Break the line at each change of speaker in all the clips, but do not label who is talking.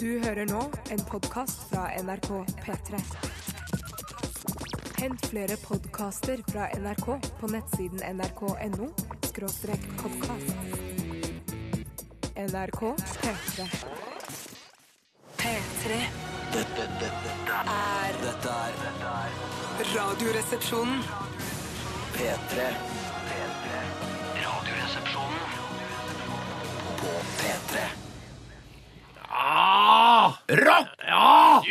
Du hører nå en podkast fra NRK P3. Hent flere podkaster fra NRK på nettsiden nrk.no podkast. NRK P3. P3
Dette, dette, dette,
er
dette er dette er
Radioresepsjonen.
P3. P3. Radioresepsjonen på P3.
Ja,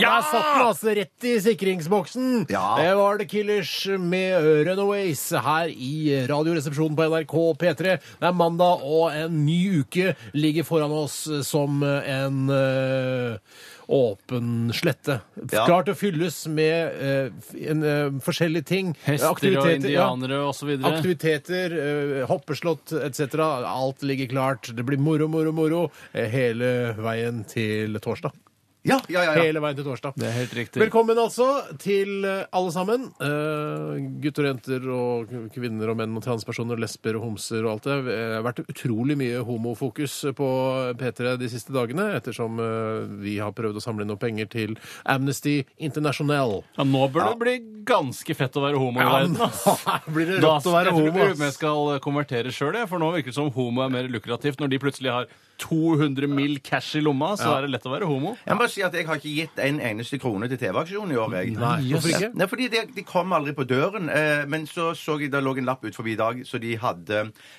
Der satt den altså rett i sikringsboksen.
Ja.
Det var The Killers med Runaways her i Radioresepsjonen på NRK P3. Det er mandag, og en ny uke ligger foran oss som en eh, åpen slette.
Ja.
Klar til å fylles med eh, f- en, eh, forskjellige ting.
Hester og
Aktiviteter, ja.
indianere og osv.
Aktiviteter, eh, hoppeslott etc. Alt ligger klart. Det blir moro, moro, moro eh, hele veien til torsdag.
Ja, ja, ja. ja.
Hele veien til torsdag.
Det er helt riktig.
Velkommen altså til eh, alle sammen. Eh, gutter og jenter og kvinner og menn og transpersoner, lesber og homser og alt det. Det har vært utrolig mye homofokus på P3 de siste dagene, ettersom eh, vi har prøvd å samle inn noen penger til Amnesty International.
Ja, nå bør det bli ganske fett å være homo i verden. ass.
her blir det
Da
rått å være
jeg tror
homo.
ikke jeg
ass.
skal konvertere sjøl, for nå virker det som homo er mer lukrativt. Når de plutselig har 200 mill. cash i lomma, så er det lett å være homo.
Jeg må bare si at jeg har ikke gitt en eneste krone til TV-aksjonen i år. Jeg.
Nei, hvorfor ikke?
Nei, fordi de, de kom aldri på døren. Eh, men så så jeg det lå en lapp ut forbi i dag, så de hadde,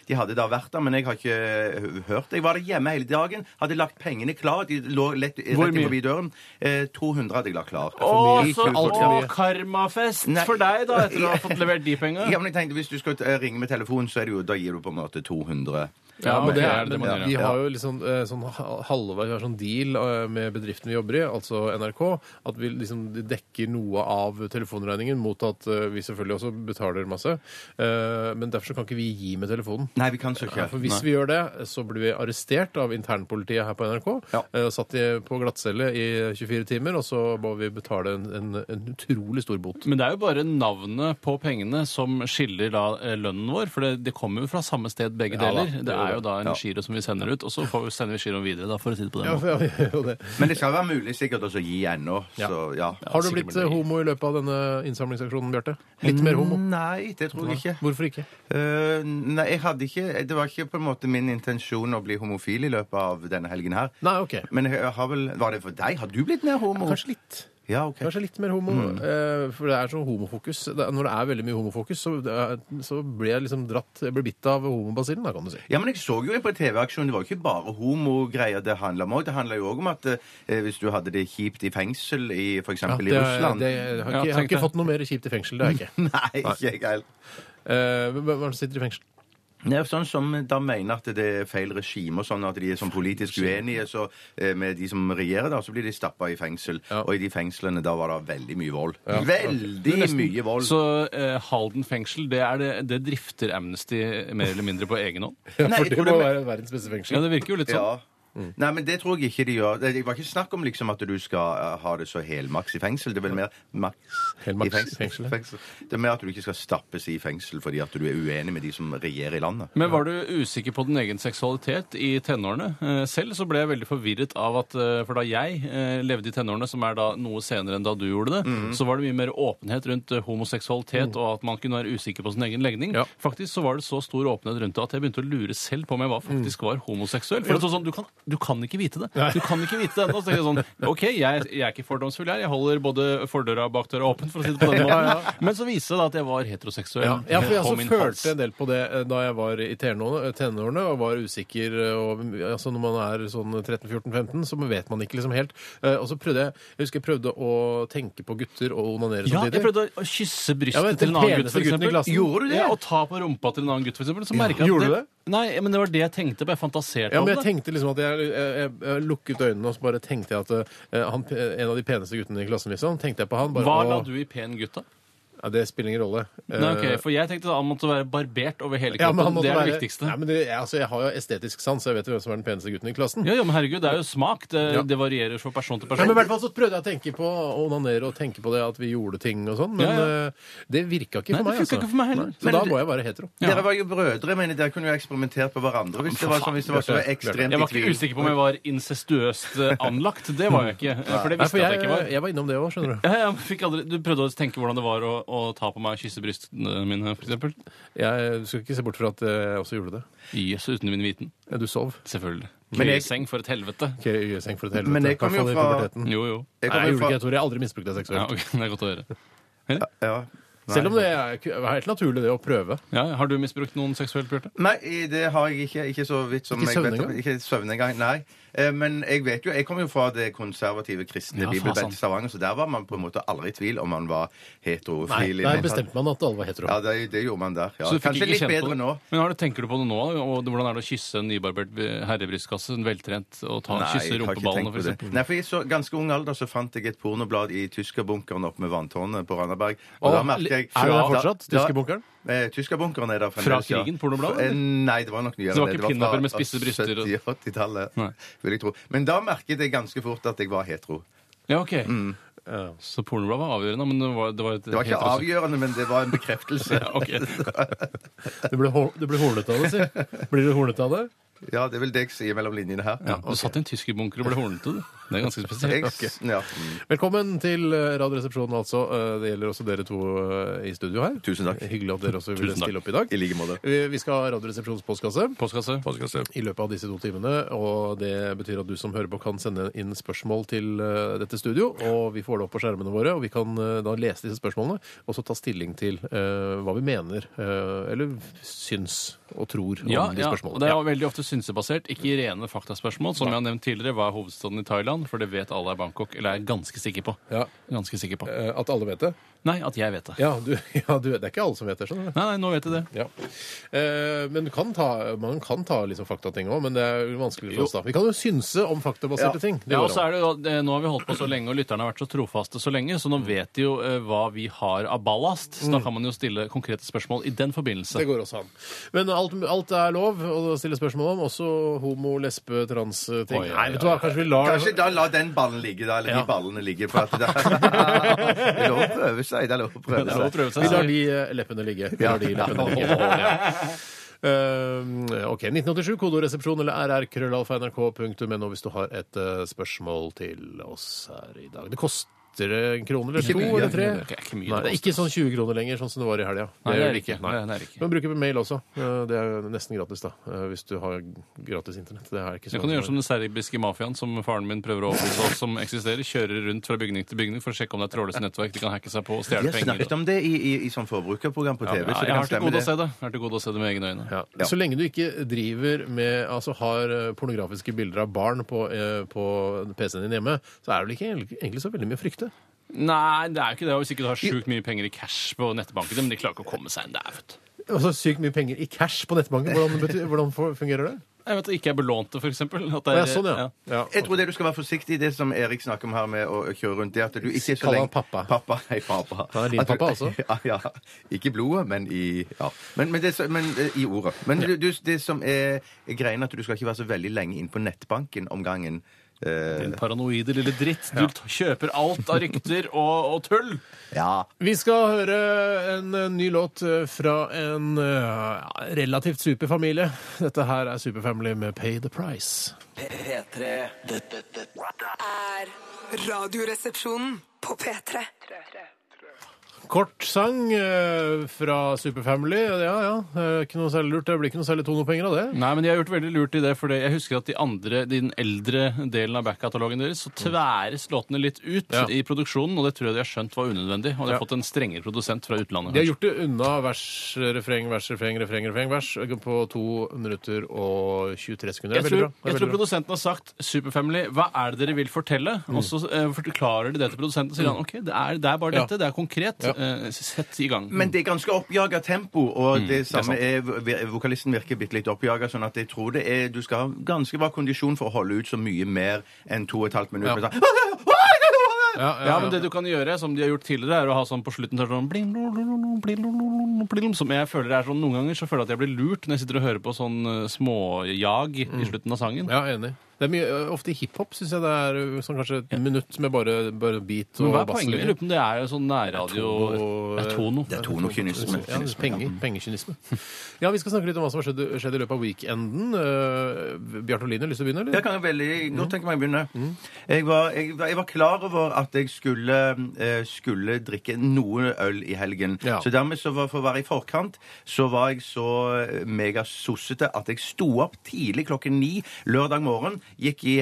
de hadde da vært der. Men jeg har ikke eh, hørt det. Jeg var der hjemme hele dagen, hadde lagt pengene klar. De lå lett,
Hvor
rett inn
mye?
forbi døren. Eh, 200 hadde jeg lagt klar.
Å,
mye.
så
Alt
å,
for mye.
karmafest
Nei.
for deg, da, etter å ha fått levert de penga.
Ja, men jeg tenkte, Hvis du skal eh, ringe med telefon, så er det jo, da gir du på en måte 200.
Ja, men
men
det er det man
men
gjør, ja.
Vi har jo liksom eh, sånn ha- halvveis vi har sånn deal eh, med bedriften vi jobber i, altså NRK, at vi liksom de dekker noe av telefonregningen mot at eh, vi selvfølgelig også betaler masse. Eh, Men derfor så kan ikke vi gi med telefonen.
Nei, vi kan så ikke.
For hvis vi gjør det, så blir vi arrestert av internpolitiet her på NRK.
Ja.
eh, og Satt i- på glattcelle i 24 timer, og så må vi betale en, en, en utrolig stor bot.
Men det er jo bare navnet på pengene som skiller da eh, lønnen vår, for det, det kommer jo fra samme sted begge
Ja da,
deler.
det
det
gjør
er
det.
jo da en
Ja.
giro som vi sender ut, og så får vi, sender vi giroen videre, da, for å si det på den måten.
for jeg gjør jo det.
Men det skal være mulig sikkert også å gi ennå. Så ja.
Har du
sikkert
blitt
blir det. Mm,
homo i løpet av denne innsamlingsaksjonen, Bjarte? Litt mer homo?
Nei, det tror jeg ikke.
Hvorfor ikke?
Eh, nei, jeg hadde ikke Det var ikke på en måte min intensjon å bli homofil i løpet av denne helgen her.
Nei, ok.
Men jeg har vel Var det for deg? Har du blitt mer homo?
Kanskje litt.
Ja, ok. Mm.
Kanskje litt mer homo, eh, for det er sånn homofokus. Det, er- når det er veldig mye homofokus, så, det er- så blir jeg liksom dratt Jeg blir bitt av homobasillen, da, kan du si.
Ja, men jeg så jo på TV-aksjonen, det var jo ikke bare homogreier det handla om òg. Det handla jo òg om at eh, hvis du hadde det kjipt i fengsel i f.eks.
Ja,
i
det er-
Russland
det, jeg, har
Ja,
ikke, jeg har
tenkte
ikke
jeg.
fått noe mer kjipt i fengsel. Det har jeg ikke.
Nei, ikke jeg heller.
Eh, Hvem hvem er det som sitter i fengsel?
Nei, Sånn som da mener at det er feil regime, og sånn at de er sånn politisk uenige så, eh, med de som regjerer, da, så blir de stappa i fengsel.
Ja.
Og i de fengslene da var det veldig mye vold. Veldig mye vold.
Så eh, Halden fengsel, det, er det, det drifter Amnesty mer eller mindre på egen hånd?
Nei,
For
jeg
det
tror
må
det-
være Mm. verdens beste fengsel.
Ja, det virker jo litt sånn.
Ja. Nei, men det tror jeg ikke de gjør. Det det var ikke snakk om liksom at du skal eh, ha det så helmaks i fengsel. Det er vel mer maks
Helmaks
i fengsel.
fengsel, ja.
fengsel. Det er mer at du ikke skal stappes i fengsel fordi at du er uenig med de som regjerer i landet.
Men var du usikker på din egen seksualitet i tenårene? Eh, Selv så ble jeg veldig forvirret av at eh, For da jeg eh, levde i tenårene, som er da noe senere enn da du gjorde det,
Mhm.
så var det mye mer åpenhet rundt eh, homoseksualitet og at man kunne være usikker på sin egen legning.
Ja.
Faktisk så var det så stor åpenhet rundt det at jeg begynte å lure selv på om jeg var,
Mhm.
faktisk var homoseksuell. For det var sånn, du kan, du kan ikke vite det. Du kan ikke vite det ennå. Så tenkte jeg sånn OK, jeg, jeg er ikke fordomsfull her. Jeg holder både fordøra og bakdøra åpen, for å si det på den måten. Men så viste det seg da at jeg var heteroseksuell.
Ja, ja, for
på
jeg altså
min hals.
følte en del på det eh, da jeg var i tenårene tenårene og var usikker. eh, Og, altså når man er sånn 13-14-15, så vet man ikke liksom helt. Eh, Og så prøvde jeg Jeg husker jeg prøvde å tenke på gutter og onanere
Ja, jeg
samtidig.
prøvde å kysse brystet
Ja, men
til en annen
den
gutt, for
peneste gutten i
eksempel.
klassen.
Gjorde du det? Ja, og ta på rumpa til en annen gutt, for eksempel. Så merket jeg at
Gjorde du det?
Nei, men det var det jeg tenkte på. Jeg fantaserte
Ja,
om
men
det.
jeg tenkte liksom at jeg, jeg, jeg, jeg lukket øynene og så bare eh, tenkte jeg at eh, han, en av de peneste guttene i klassen liksom, tenkte jeg på han bare,
Hva
å-
la du i pen gutt, da?
Nei, det spiller ingen rolle.
Nei, ok,
Eh,
For jeg tenkte da han måtte være barbert over hele
ja, men han
kroppen.
måtte
det er
være-
det viktigste.
Nei, men det, jeg, altså, jeg har jo estetisk sans, så jeg vet jo hvem som er den peneste gutten i klassen.
Ja, ja, men herregud, det er jo smak. Det,
Ja.
det varierer fra person til
Nei,
person.
men i hvert fall så prøvde jeg å tenke på å onanere og tenke på det at vi gjorde ting og sånn, men
Ja, ja.
eh, det virka ikke
Nei, det
for meg.
funka ikke for meg heller.
Nei, Så
Men
da
det-
må jeg være hetero.
Ja.
Dere var jo brødre, men dere kunne jo eksperimentert på hverandre hvis det var, sånn, hvis det var så
Bjarte,
ekstremt
Jeg var ikke usikker på om jeg var incestuøst eh, anlagt. Det var jeg ikke. For det
Nei, for
visste jeg at
jeg,
jeg ikke var.
jeg var innom det òg, skjønner du.
Ja, jeg fikk aldri, du prøvde å tenke hvordan det var å, å ta på meg og kysse brystene mine, f.eks.
Jeg du skal ikke se bort fra at eh, jeg også gjorde det.
Jøss, uten min viten.
Ja, Du sov.
Selvfølgelig.
Men jeg-
Køyeseng for et helvete.
Ikke i seng for et helvete.
Men jeg
i hvert
kom jo
fall i
fra-
puberteten.
Jo, jo.
Nei,
Jeg
jeg
kommer jo
gjorde
fra-
ikke det, Tor. Jeg har aldri misbrukt det seksuelt.
Ja, ok, Det er godt å høre.
Ja. Nei.
Selv om det er ku- er helt naturlig det å prøve.
Ja, har du misbrukt noen seksuelt, Bjarte?
Nei, det har jeg ikke. Ikke så vidt som
Ikke
jeg
søvn
vet. om-
engang?
Ikke søvn engang. Nei. Eh, Men jeg vet jo, jeg kommer jo fra det konservative kristne
Ja, faen.
bibelbeltet i Stavanger, så der var man på en måte aldri i tvil om man var
Nei,
heterofil.
Der
i det hele tatt.
bestemte man at alle var hetero.
Ja, det, det gjorde man der. Ja.
Så du fikk
Kanskje
ikke
litt
kjent på
bedre
det.
nå.
Men har du, tenker du på det nå? da? Og hvordan er det å kysse en nybarbert herrebrystkasse? En veltrent og ta, kysse
jeg har ikke
rumpeballene,
tenkt på
for
det.
eksempel?
Nei, for i så ganske ung alder så fant jeg et pornoblad i tyskerbunkeren oppe med vanntårnet på Randaberg. Og
Å,
da merket
er
jeg
det der
Da-
fortsatt,
da-
tyskerbunkeren?
Eh, tyskerbunkeren er der
Fra
fremdeles, ja.
krigen, pornobladet,
Eh,
eller?
Nei, det var nok nyere.
Så det var
enn
ikke
fra
pinnapper med spisse bryster og-
70-80-tallet,
Nei.
vil jeg tro. Men da merket jeg ganske fort at jeg var hetero.
Ja, ok.
Ja.
Så pornoblad var avgjørende, men det var, det var et
Mm. Det var ikke
heterosek-
avgjørende, men det var en bekreftelse.
Ja, ok.
Du ble, hor- du ble hornet av det, si. Blir du hornet av det?
Ja, det er vel det jeg sier mellom linjene her.
Ja, du satt i en tyskerbunker og ble hornete, du. Det er ganske
Jeg,
spesielt.
ja. mm,
Velkommen til eh, Radioresepsjonen, altså. Eh, Det gjelder også dere to eh, i studio her.
Tusen takk.
Hyggelig at dere også
Tusen
ville
takk.
stille opp i dag.
I like måte.
Vi vi skal ha Radioresepsjonens postkasse.
Postkasse.
i løpet av disse to timene. Og det betyr at du som hører på, kan sende inn spørsmål til eh, dette studio. Og vi får det opp på skjermene våre, og vi kan eh, da lese disse spørsmålene og så ta stilling til eh, hva vi mener, eh, eller syns og tror om
Ja,
de
ja, og det
spørsmålene.
er veldig ofte synsebasert, ikke rene faktaspørsmål. Som jeg har nevnt tidligere, hva er hovedstaden i Thailand? For det vet alle er Bangkok, eller er jeg ganske sikker på.
Ja.
Ganske sikker på.
Eh, At alle vet det?
Nei, at jeg vet det.
Ja, du, ja du, det er ikke alle som vet det. skjønner du.
Nei, nei, nå vet jeg det.
Ja. Eh, men du kan ta, man kan ta liksom faktating òg, men det er jo vanskeligere for oss da. Vi kan jo synse om faktabaserte ting. Det
Ja,
går
og så
an.
er det jo, eh, Nå har vi holdt på så lenge, og lytterne har vært så trofaste så lenge, så nå vet de jo eh, hva vi har av ballast. Så da kan man jo stille konkrete spørsmål i den
Mm. Det
forbindelse.
går også an. Men alt, alt er lov å stille spørsmål om. Også homo, lesbe, trans-ting.
Oi, oi,
Nei, vet du hva, kanskje vi lar
Kanskje da la den ballen ligge, da. Eller
Ja.
de ballene ligge. For at det, det er lov å prøve seg. Det er lov å prøve
Det er lov å
seg.
prøve
Vi lar
seg.
de eh, leppene ligge. Vi
Ja.
lar de leppene ligge. Um, OK. 1987, kodoresepsjon eller rrkrøllalfa.nrk.no hvis du har et eh, spørsmål til oss her i dag. Det koster en krone eller to
mye.
eller tre.
Det er ikke mye
Nei, det er
det
ikke sånn 20 kroner lenger, sånn som det var i helga.
Nei, det er det ikke.
Nei.
Nei, det er det ikke.
Men bruker mail også. Eh, Det er jo nesten gratis, da. eh, Hvis du har gratis internett. Det er ikke
Du
så
kan
mange
gjøre som den serbiske mafiaen som faren min prøver å overbevise oss som eksisterer. Kjører rundt fra bygning til bygning for å sjekke om det er trådløse nettverk de kan hacke seg på og
Vi
stjele
har
penger.
snakket om det i, i, i sånn forbrukerprogram på
Ja,
TV. så det
jeg
kan
har til gode
stemme det.
å se det. Jeg har til gode å se det med egne øyne.
Ja. Så lenge du ikke driver med Altså har eh, pornografiske bilder av barn på, eh, på PC-en din hjemme, så er det vel ikke egentlig- egentlig så veldig mye å frykte.
Nei, det er jo ikke det. Hvis ikke du har sjukt mye penger i cash på nettbanken, men de klarer ikke å komme seg inn der. vet du.
Altså sykt mye penger i cash på nettbanken. Hvordan, betyr, hvordan fu- fungerer det?
Jeg vet at det ikke er belånte, for eksempel. At
Å,
det
ja,
er,
sånn, ja. ja.
Jeg tror det du skal være forsiktig i, det som Erik snakker om her med å kjøre rundt, det er at du ikke er så
Kall han
lenge
pappa.
Pappa, hei, pappa.
Han er din
At du-
pappa, altså?
Ja, ja. Ikke i blodet, men i ja. men, men, det, som- men eh, i ordet. Men du, du, det som er greien, er at du skal ikke være så veldig lenge inn på nettbanken om gangen. Eh,
Din paranoide lille dritt. Du t- kjøper alt av rykter og, og tull.
ja.
Vi skal høre en eh, ny låt eh, fra en eh, ja, relativt super familie. Dette her er Superfamily med Pay the Price.
P3. Dette, dette
Er Radioresepsjonen på P3.
Kort sang eh, fra Superfamily. Ja ja, eh, ikke noe særlig lurt. Det blir ikke noe særlig tonopenger av det.
Nei, men de har gjort veldig lurt i det, for det- jeg husker at de andre, den eldre delen av back-katalogen deres, så tværes låtene litt ut
Ja.
i produksjonen, og det tror jeg de har skjønt var unødvendig. Og de har fått en strengere produsent fra utlandet.
De har
kanskje.
gjort det unna vers, refreng, vers, refreng, refreng, refreng, vers på 2 minutter og 23 sekunder.
Jeg
Det er
tror,
veldig bra. Det er
jeg tror
veldig bra.
produsenten har sagt Superfamily, hva er det dere vil fortelle? Og så eh, forklarer de det til produsenten og sier han, ok, det er, det er bare
Mm. Ja.
dette, det er konkret.
Ja.
eh, Sett i gang.
Men det er ganske oppjaga tempo,
Mm,
og det
er
samme
sant.
er, vi- vokalisten virker bitte litt oppjaga, sånn at jeg tror det er Du skal ha ganske bra kondisjon for å holde ut så mye mer enn to og et halvt minutt.
Ja.
med sånn
Ja, ja,
men det du kan gjøre, som de har gjort tidligere, er å ha sånn på slutten så er det sånn bling, blum, blum, blum, bling, blum, blum, blum, Som jeg føler er sånn noen ganger så føler jeg at jeg blir lurt når jeg sitter og hører på sånn eh, småjag i slutten av sangen.
Mm. Ja, enig. Det er mye, ø, ofte i hiphop syns jeg det er ø, sånn kanskje et minutt med bare, bare beat
Men
og
hva er poenget? Jeg
basslinje.
lurer på om det er jo sånn nærradio
Tono-
Det er tono.
Det er tonokynisme.
Ja, det er penger, pengekynisme. Ja, Vi skal snakke litt om hva som har skjedd, skjedd i løpet av weekenden. Uh, Bjarte Oline, lyst til å begynne?
Jeg
eller?
kan veldig
Mm.
godt tenke meg å begynne. Jeg, var, jeg, var- jeg var klar over at jeg skulle, eh, skulle drikke noe øl i helgen.
Ja.
Så dermed, så var, for å være i forkant, så var jeg så eh, megasossete at jeg sto opp tidlig klokken ni lørdag morgen, gikk i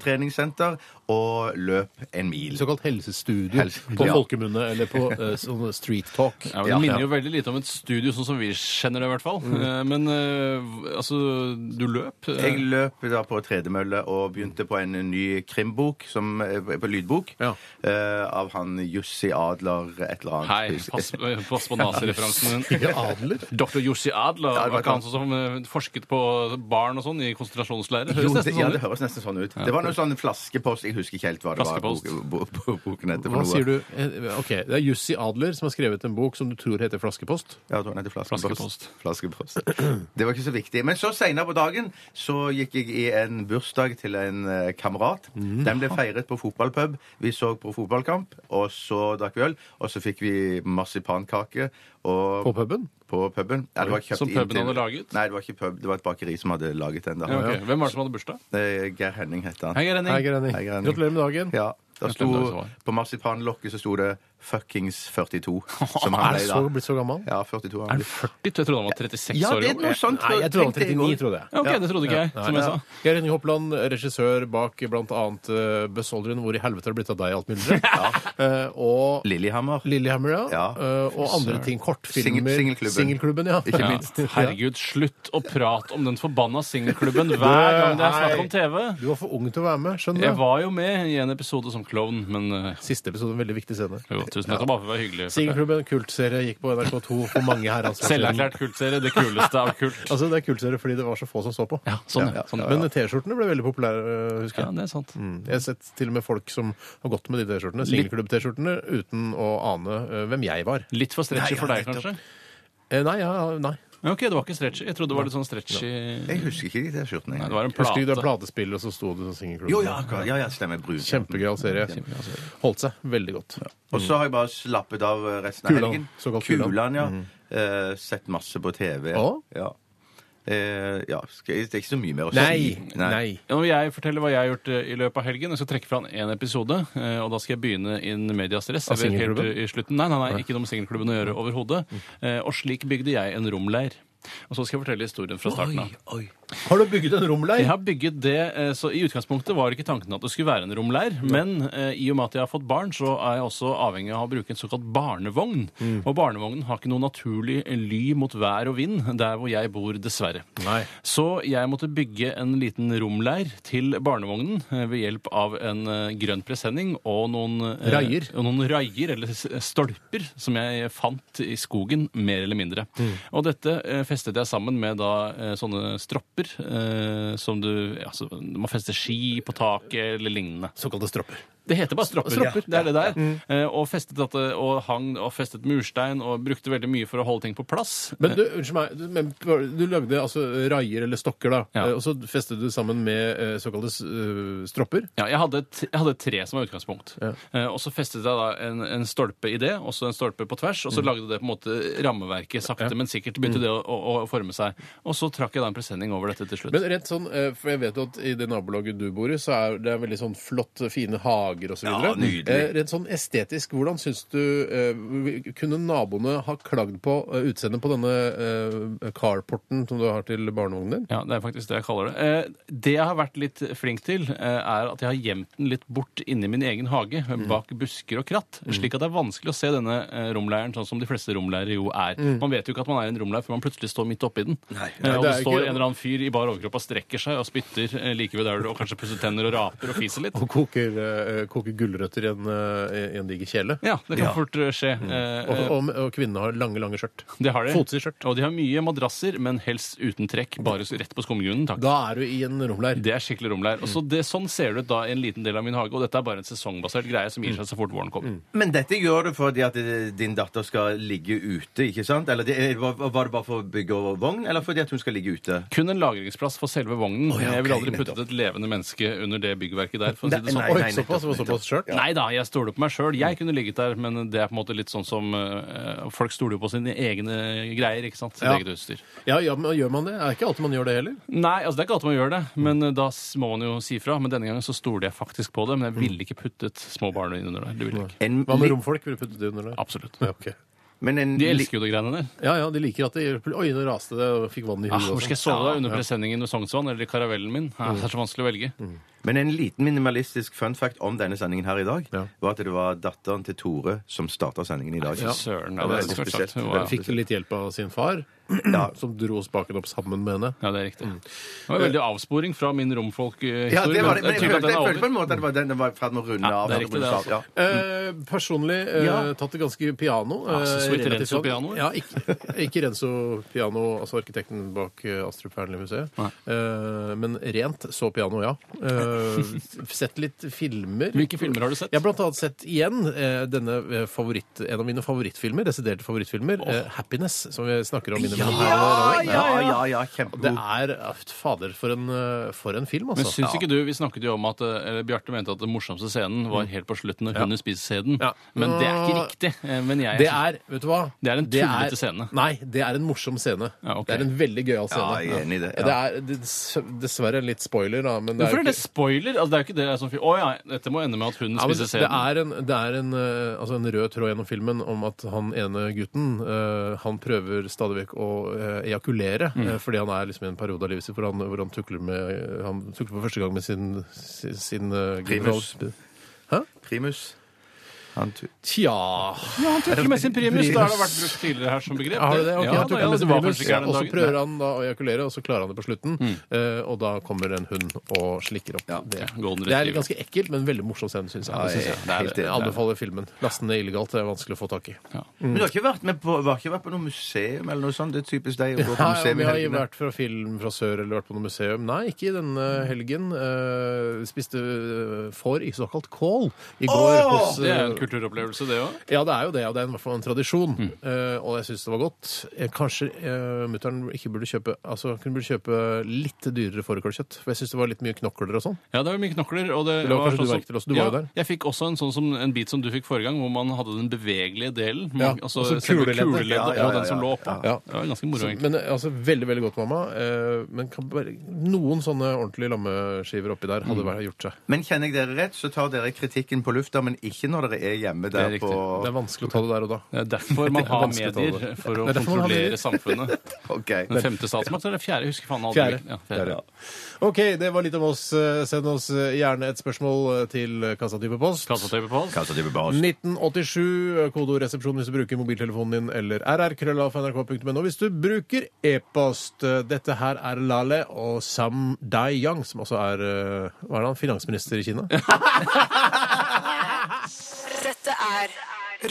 helsetreningssenter og løp en mil.
Såkalt helsestudio
Helse-
på
Ja.
folkemunne eller på ø, sånn street talk.
Ja, men det
Ja. Mm.
minner jo veldig lite om et studio, sånn som vi kjenner det i hvert fall. Eh, Men eh, altså, du løp. eh,
Jeg løp da på tredemølle og begynte på en ny krimbok, som, på lydbok,
Ja.
eh, av han Jussi Adler et eller annet.
Hei, pass, eh, pass på nazireferansen din.
Ikke adler?
Dr. Jussi Adler,
Ja, det
var
var
ikke han som eh, forsket på barn og sånn i konsentrasjonsleirer?
Jo,
Høres nesten
det, ja,
sånn
det
ut.
høres nesten sånn ut. Det var noe sånn flaskepost. Jeg husker ikke helt hva det var.
Flaskepost.
bo- bo- bo- Boken heter
Hva sier du? Eh, Ok, Det er Jussi Adler som har skrevet en bok som du tror heter Flaskepost.
Ja, jeg tror den heter flaskepost.
Flaskepost.
flaskepost. Det var ikke så viktig. Men så seinere på dagen så gikk jeg i en bursdag til en eh, kamerat.
Mm.
Den ble feiret på fotballpub. Vi så på fotballkamp, og så drakk vi øl. Og så fikk vi marsipankake og
På puben?
På puben. Ja, det var kjøpt
Som
inn
puben
til-
hadde laget?
Nei, det var ikke pub. Det var et bakeri som hadde laget den. da.
Ja, ok. Hvem var det som hadde bursdag?
Eh, Geir Henning het han.
Hei, Renning.
Hei, Granny.
Hei, Granny.
Gratulerer med dagen.
Ja, der
Jeg glemte det
sto,
var.
på marsipanlokket så sto det 'fuckings 42'. Som han
Er
ble
du
da.
så, blitt så gammel?
Ja, 42 han
Er
ble.
han 40? Jeg trodde han var 36
Ja,
år
det er
gammel.
noe sånt.
Nei, jeg tror han var
tenkte i
39,
går.
trodde jeg.
Ja, ok, det trodde ikke jeg, som jeg sa.
Geir Henning Hopland, regissør bak bl.a. Bøssolderen, hvor i helvete har det blitt av deg i alt mulig? Eh, og
Lillehammer.
Lillehammer, ja.
Ja.
Eh, og andre ting. Kortfilmer.
Singel- singelklubben.
Singelklubben, ja.
Ikke
Ja.
minst.
Herregud, slutt å prate om den forbanna singelklubben hver gang det er snakk om TV!
Du var for ung til å være med, skjønner
Jeg
du.
var jo med i en episode som klovn, men eh,
Siste episode, en veldig viktig scene.
jo, tusen takk. Det var bare for å være hyggelig.
Singelklubben, kultserie, gikk på NRK2 for mange her. Altså,
Selverklært kultserie. Det kuleste av kult.
Altså, det er kultserie fordi det var så få som så på.
Ja, sånn, ja.
Ja,
Sånn,
Men T-skjortene ble veldig populære, øh, husker jeg.
ja, det er sant.
Mm. Jeg har sett til og med folk som har gått med de T-skjortene, singelklubb-T-skjortene, uten å ane eh, hvem jeg var.
Litt for stretchy for deg, kanskje?
Eh, nei, ja, ja, nei.
Ja, ok, det var ikke stretchy. Jeg trodde det var litt sånn stretchy Nei,
Jeg husker ikke de der skjortene.
det
engang.
var en
Husker du det
plate.
platespillet, og så sto det sånn singelklubb?
Jo, ja, akkurat. ja, ja, stemmer. Brun.
Kjempegøyal serie. Holdt seg veldig godt.
Og så har jeg bare slappet av eh, resten av
Kulan.
helgen.
Såkalt Kulan. Mhm.
ja. Eh, sett masse på TV.
Å?
Ja. Eh, ja. Skal jeg, det er ikke så mye mer å si.
Nei! Nei.
Ja, Når jeg forteller hva jeg har gjort eh, i løpet av helgen, jeg skal trekke fra en episode, eh, og da skal jeg begynne in medias res.
Av
Jeg vet helt,
singelklubben?
eh, i slutten. Nei, nei, nei, ikke noe med singelklubben å gjøre overhodet. Eh, Og slik bygde jeg en romleir. Og så skal jeg fortelle historien fra starten av.
Har du bygget en romleir?
Jeg har bygget det, eh, så I utgangspunktet var ikke tanken at det skulle være en romleir, men eh, i og med at jeg har fått barn, så er jeg også avhengig av å bruke en såkalt barnevogn. Og barnevognen har ikke noe naturlig ly mot vær og vind der hvor jeg bor, dessverre.
Nei.
Så jeg måtte bygge en liten romleir til barnevognen eh, ved hjelp av en eh, grønn presenning og noen eh,
Raier.
og noen raier, eller s- eh, stolper, som jeg fant i skogen, mer eller mindre.
Mm.
Og dette eh, festet jeg sammen med da eh, sånne stropper eh, som du altså, Man fester ski på taket eller lignende.
Såkalte stropper.
Det heter bare stropper.
Stropper. Mm.
Det er det der. Eh, og festet dette, og hang og festet murstein og brukte veldig mye for å holde ting på plass.
Men du, unnskyld meg, du, men du lagde altså raier eller stokker, da,
Ja.
eh, og så festet du sammen med eh, såkalte eh, stropper?
Ja, jeg hadde, et, jeg hadde et tre som var utgangspunkt. Eh, og så festet jeg da en, en stolpe i det, og så en stolpe på tvers, og så lagde det på en måte rammeverket sakte, men sikkert begynte det å, å, å forme seg. Og så trakk jeg da en presenning over dette til slutt.
Men rett sånn, eh, for jeg vet jo at i det nabolaget du bor i, så er det veldig sånn flott, fine hager osv.
Ja, nydelig.
rett sånn estetisk, hvordan syns du eh, Kunne naboene ha klagd på eh, utseendet på denne eh, carporten som du har til barnevognen din?
ja, det er faktisk det jeg kaller det. Eh, det jeg har vært litt flink til, eh, er at jeg har gjemt den litt bort inni min egen hage, eh,
Mm.
bak busker og kratt, slik at det er vanskelig å se denne eh, romleiren sånn som de fleste romleirer jo er. Man vet jo ikke at man er i en romleir før man plutselig står midt oppi den. Eh, og
Mm. det
det,
er jo
står
ikke-
en eller annen fyr i bar overkropp og strekker seg og spytter eh, like ved der du og kanskje pusser tenner og raper og fiser litt.
Og koker eh, eh, koke gulrøtter i en, eh, i en diger kjele.
Ja, det kan fort eh, skje. Eh,
Mm. Og,
eh,
og, og kvinnene har lange, lange skjørt.
det har de.
Fotsid skjørt.
Og de har mye madrasser, men helst uten trekk. Bare s- rett på skumgrunnen, takk.
Da er du i en romleir.
Det er skikkelig romleir. Og så det, sånn ser det ut da i en liten del av min hage, og dette er bare en sesongbasert greie som gir seg så fort våren kommer.
Men dette gjør du fordi at eh, din datter skal ligge ute, ikke sant? Eller det, eh, var var det bare for å bygge over vogn, eller fordi at hun skal ligge ute?
Kun en lagringsplass for selve vognen.
ja,
jeg ville
ok,
aldri puttet et levende menneske under det byggverket der. for å si det sånn.
Nei,
Oi,
nei,
såpass?
nettopp,
Det var såpass skjørt?
Nei da, jeg stoler på meg sjøl. Jeg kunne ligget der, men det er på en måte litt sånn som eh, Folk stoler jo på sine egne greier, ikke sant? Sitt
Ja.
eget utstyr.
Ja, ja, men gjør man det? Er ikke alltid man gjør det heller.
Nei, altså det er ikke alltid man gjør det, men eh, da s- må man jo si fra. Men denne gangen så stoler jeg faktisk på det, men jeg
Mm.
ville ikke puttet små barn inn under der. Det ville jeg ikke.
En
Hva med
li-
romfolk? Vil du putte det under der?
Absolutt.
Ja, ok.
Men en
De
li-
elsker jo de greiene der.
ja, ja, de liker at det gjør Oi, nå raste det og fikk vann i
Ah,
huet. og
hvor skal jeg
sånn.
sove da? Under presenningen ved Sognsvann eller i karavellen min? Ah, det er så vanskelig å velge.
Mm.
Men en liten minimalistisk fun fact om denne sendingen her i dag
Ja.
var at det var datteren til Tore som starta sendingen i dag.
Fy søren, ja,
Det
det
er
er
litt
svært sagt.
spesielt.
Wow.
Fikk litt hjelp av sin far,
Ja.
som dro spaken opp sammen med henne.
Ja, det er riktig.
Mm.
Det var
Eh.
veldig avsporing fra min romfolkhistorie.
Ja, det var det.
men tydelig
Men jeg
at
følte,
den er
jeg
over.
følte på en måte at det var den den var i ferd med å runde
Ja,
av.
det er altså.
at
riktig
runde
det,
av, ja.
Eh, personlig eh,
Ja.
tatt det ganske piano.
Ja, Ah, så
eh,
sweet
relativt
Renzo
sånn.
piano,
Ja, ikke, ikke Renzo Piano, altså arkitekten bak eh, Astrup Fearnley-museet.
Nei.
Eh, men rent så piano, ja. Eh, sett litt filmer.
Hvilke filmer har du sett?
Jeg har blant annet sett igjen eh, denne eh, favoritt, en av mine favorittfilmer, desiderte favorittfilmer, eh, 'Happiness', som vi snakker om innimellom her. og der.
Ja, ja, ja,
Det
kjempegod.
er eh, Fader, for en, eh, for en film,
Men
altså.
syns ikke du, Vi snakket jo om at eh, eller Bjarte mente at den morsomste scenen var helt på slutten når hunden spiser sæden.
Mm. Ja.
Men det er ikke riktig. Eh, Men jeg
Det er vet du hva?
Det er en tullete scene.
Nei, det er en morsom scene.
Ja, ok.
Det er en veldig gøyal scene.
Ja, jeg er enig i det, ja.
er dess- dessverre litt spoiler, da. Men det
Hvorfor
er
er det spoiler? Altså, det er jo ikke det som Å ja, dette må ende med at hunden
Ja, men
spiser
det
sæden.
er, en, det er en, eh, altså en rød tråd gjennom filmen om at han ene gutten eh, han prøver stadig vekk å eh, ejakulere,
Mm.
eh, fordi han er liksom i en periode av livet sitt hvor han, hvor han tukler med eh, Han tukler for første gang med sin, sin, sin eh,
Primus.
genital-
Primus. Han tu-
Tja
Ja, han tukler med sin primus.
Primus.
Da har det vært brukt tidligere her som begrep.
Ja, Har du det? Ok,
ja,
han
da,
tukler
ja, altså, det
med sin
var
primus,
kanskje ikke her den
og så
dagen.
prøver han da å ejakulere, og så klarer han det på slutten. eh, Og da kommer en hund og slikker opp. det.
golden
det er
retriever.
ganske ekkelt, men veldig morsom scene, syns jeg.
Ja, jeg er
Det synes jeg.
helt enig.
jeg anbefaler filmen. Last den ned illegalt, det er vanskelig å få tak i.
Ja.
Men du har ikke vært, med på, du har ikke vært på noe museum eller noe sånt? Det er typisk deg å gå på
Nei, om
museum i
jeg har
helgene.
vært fra film fra sør eller vært på noe museum. Nei, ikke i denne helgen. Eh, spiste eh, får i såkalt kål i går hos
Det er
eh,
jo en kulturopplevelse, det òg.
Ja, det er jo det, og det er i hvert fall en tradisjon.
Mm.
Eh, og jeg syns det var godt. Eh, kanskje uh, mutter'n ikke burde kjøpe Altså, hun burde kjøpe litt dyrere fårikålkjøtt, for jeg syns det var litt mye knokler og sånn.
Ja, det var mye knokler. Og det
Det var kanskje du merket til også, du var jo der.
Jeg fikk også en sånn som, en bit som du fikk forrige gang, hvor man hadde den bevegelige delen. Man,
Ja,
altså
og så
selve
kuleleddet.
kuleleddet
Ja, ja,
og
ja,
den som
ja.
lå oppå.
Ja.
Det var ganske moro,
Så,
egentlig.
men eh, altså, veldig, veldig godt, mamma. Eh, men kan bare, noen sånne ordentlige lammeskiver oppi der
Mm.
hadde bare gjort seg.
Men kjenner jeg dere rett, så tar dere kritikken på lufta, men ikke når dere er hjemme der
Det er
på
riktig.
Det er vanskelig å ta det der og da.
Det er derfor man har
vanskelig å ta
medier,
det.
for å
Det er derfor man har medier.
kontrollere samfunnet.
Ok.
Den femte statsmakt, eller fjerde? Jeg husker faen aldri.
Fjerde.
Ja,
Fjerde, ja. OK, det var litt om oss. Eh, Send oss eh, gjerne et spørsmål eh, til kassatype post.
Kassatype på oss.
Kanskje det blir bare oss.
1987, eh, kodoresepsjon hvis du bruker mobiltelefonen din, eller rrkrøllalfa.nrk.no hvis du bruker e-post. eh, Dette her er Lale og Sam Dai-Yang, som altså er eh, hva er det han, finansminister i Kina.
Dette er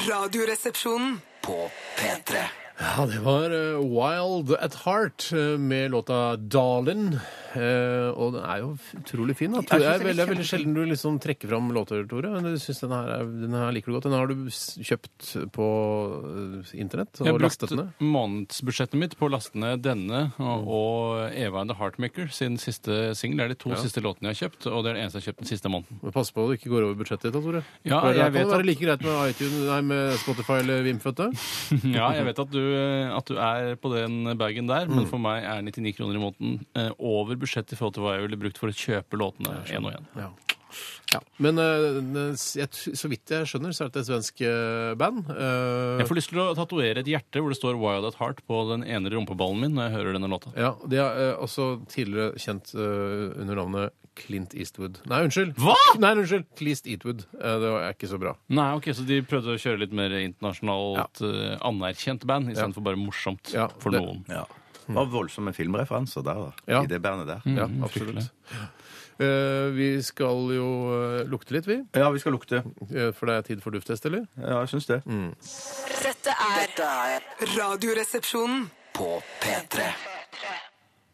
Radioresepsjonen.
På P3
Ja, det var eh, Wild at Heart eh, med låta Darlin. Eh, og den er jo f- utrolig fin. Da. Tore, Det er,
den er
veldig- det er veldig sjelden du liksom trekker fram låter, Tore. Men jeg synes den, her, er- den her liker du godt. Den har du s- kjøpt på eh, internett
Jeg
og
har brukt
lastet ned.
månedsbudsjettet mitt på å laste ned denne og, og Eva and the Heartmaker sin siste singel. Det er de to siste låtene jeg har kjøpt, og det er den eneste jeg har kjøpt den siste måneden.
Men Pass på at du ikke går over budsjettet ditt, da, Tore.
Ja,
For
jeg
det kan
vet
være
at-
like greit med, iTunes, nei, med Spotify eller Vimfødt. da.
Ja, jeg vet at du, eh, at du er på den bagen der,
Mm.
men for meg er 99 kroner i måneden eh, over budsjettet i forhold til hva jeg ville brukt for å kjøpe låtene én og én.
Ja. Ja. Men eh, jeg, t- så vidt jeg skjønner, så er dette et svensk eh, band. Eh,
Jeg får lyst til å tatovere et hjerte hvor det står 'Wild at Heart' på den ene rumpeballen min når jeg hører denne låta.
ja, De er eh, også tidligere kjent eh, under navnet Clint Eastwood. Nei, unnskyld!
Hva?!
Nei, unnskyld! Cleast Eatwood. Eh, det var- er ikke så bra.
Nei, ok, Så de prøvde å kjøre litt mer internasjonalt eh, anerkjent band
Ja.
istedenfor bare morsomt
Ja,
for
det-
noen.
Ja. Det var voldsomme filmreferanser der, da.
Ja.
I det bandet der.
Ja,
Mm,
absolutt.
fryktelig.
Eh, vi skal jo eh, lukte litt, vi.
Ja, vi skal lukte.
Eh, For det er tid for dufttest, eller?
Ja, jeg syns det.
Mm.
Dette er
Dette er
Radioresepsjonen.
på P3.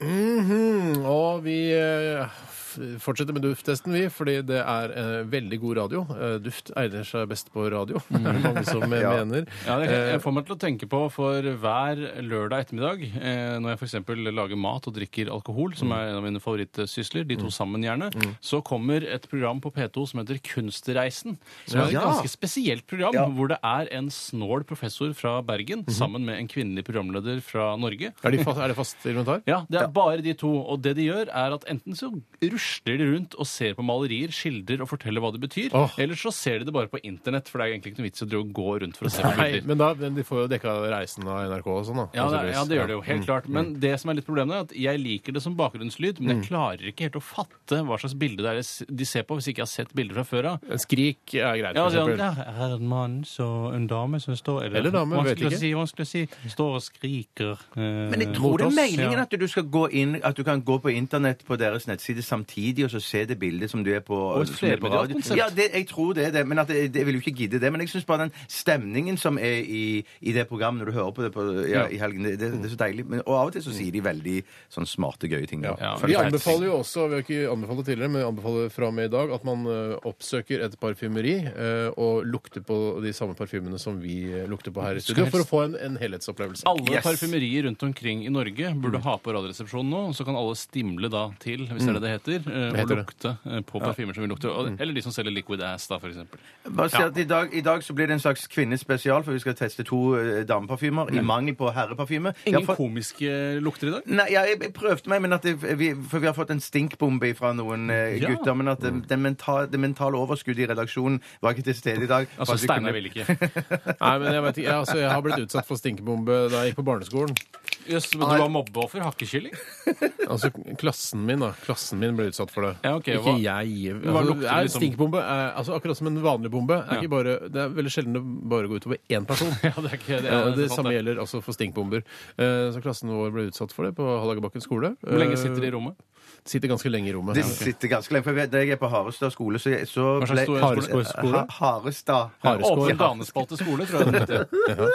Mm, Og vi eh, f- fortsetter med dufttesten, vi, fordi det er eh, veldig god radio. Eh, duft egner seg best på radio, er det mange som eh,
Ja.
mener.
Mm. Ja, det,
Eh,
jeg får meg til å tenke på for hver lørdag ettermiddag, eh, når jeg f.eks. lager mat og drikker alkohol,
Mm.
som er en av mine favorittsysler, de to sammen gjerne, så kommer et program på P2 som heter Kunstreisen. Som er et
Ja.
ganske spesielt program,
Ja.
hvor det er en snål professor fra Bergen sammen med en kvinnelig programleder fra Norge.
Mhm. er, de fast, er det fast elementar?
Ja, det er bare de to. Og det de gjør, er at enten så rusler de rundt og ser på malerier, skildrer og forteller hva det betyr,
Åh.
eller så ser de det bare på internett, for det er egentlig ikke noe vits i å drive og gå rundt for å se på
Nei,
bilder.
men da, men de får jo dekka reisen av NRK og sånn, da.
Ja det, ja, det gjør det jo.
Ja. Mm.
Helt klart. Men det som er litt problemet, er at jeg liker det som bakgrunnslyd, men
Mm.
jeg klarer ikke helt å fatte hva slags bilde det er jeg s- de ser på, hvis ikke jeg har sett bilder fra før av.
En Skrik er greit,
Ja,
for
altså,
eksempel.
ja, her er en mann så en dame som står
Eller dame, vet
vanskelig å
ikke.
Si, vanskelig å si. Står og skriker. eh,
Men jeg tror
mot
det er
oss.
meningen
Ja.
at du skal gå inn At du kan gå på internett på deres nettside samtidig og så se det bildet som du er på,
et
som er på radio.
flermediakonsept.
Ja, det, jeg tror det er det. Men at jeg, jeg vil jo ikke gidde det. Men jeg syns bare den stemningen som er i, i det programmet når du hører på det på, ja, i helgen, det, det, det er så deilig. Men, og av og til så sier de veldig sånn smarte, gøye ting. da.
Ja.
Fun
Vi
Fun
fact.
anbefaler jo også vi har ikke anbefalt det tidligere, men vi anbefaler fra og med i dag at man ø, oppsøker et parfymeri ø, og lukter på de samme parfymene som vi ø, lukter på her i studio, for å få en, en helhetsopplevelse.
Alle parfymerier rundt omkring i Norge
Mm.
burde ha på Radioresepsjonen nå, så kan alle stimle da til, hvis det er det det heter, eh,
Det heter
og
det. Mm.
lukte eh, på parfymer som vil lukte. Og- Eller de som selger liquid ass, da, for eksempel.
Bare si at i dag, I dag så blir det en slags kvinnespesial, for vi skal teste to eh, dameparfymer i mangel på herreparfyme. Vi har
Mm. Ingen
fått-
komiske lukter i dag.
Nei, ja, jeg, jeg prøvde meg, men at det, vi, for vi har fått en stinkbombe fra noen eh,
Ja. Mm.
gutter. Men at det, det, menta- det mentale overskuddet i redaksjonen var ikke til stede i dag. for
Altså,
at vi
Steinar
kunne-
vil ikke.
Nei, men jeg, vet ikke, jeg, altså, jeg har blitt utsatt for stinkebombe da jeg gikk på barneskolen.
Jøss, men du var mobbeoffer? Hakkekylling?
Altså, klassen min da, klassen min ble utsatt for det.
Ja, ok,
ikke
hva-
jeg.
hva
Altså,
lukter
det er
liksom?
stinkbombe er, altså, akkurat som en vanlig bombe. Er
Ja.
ikke bare, det er veldig sjelden det bare går utover én person.
Ja, det er ikke det.
Eh,
Er,
det, samme gjelder altså for stinkbomber. Eh, Så klassen vår ble utsatt for det på Hallagerbakken skole. Eh,
Hvor lenge sitter de i rommet?
Sitter ganske lenge i rommet.
Det sitter ganske lenge. For jeg vet- da jeg er på Harestad skole, så, jeg- så
Hva slags skole-
skole- skole?
Ha- Harestad.
Hareskår.
Åpen danespalte skole, tror jeg det heter.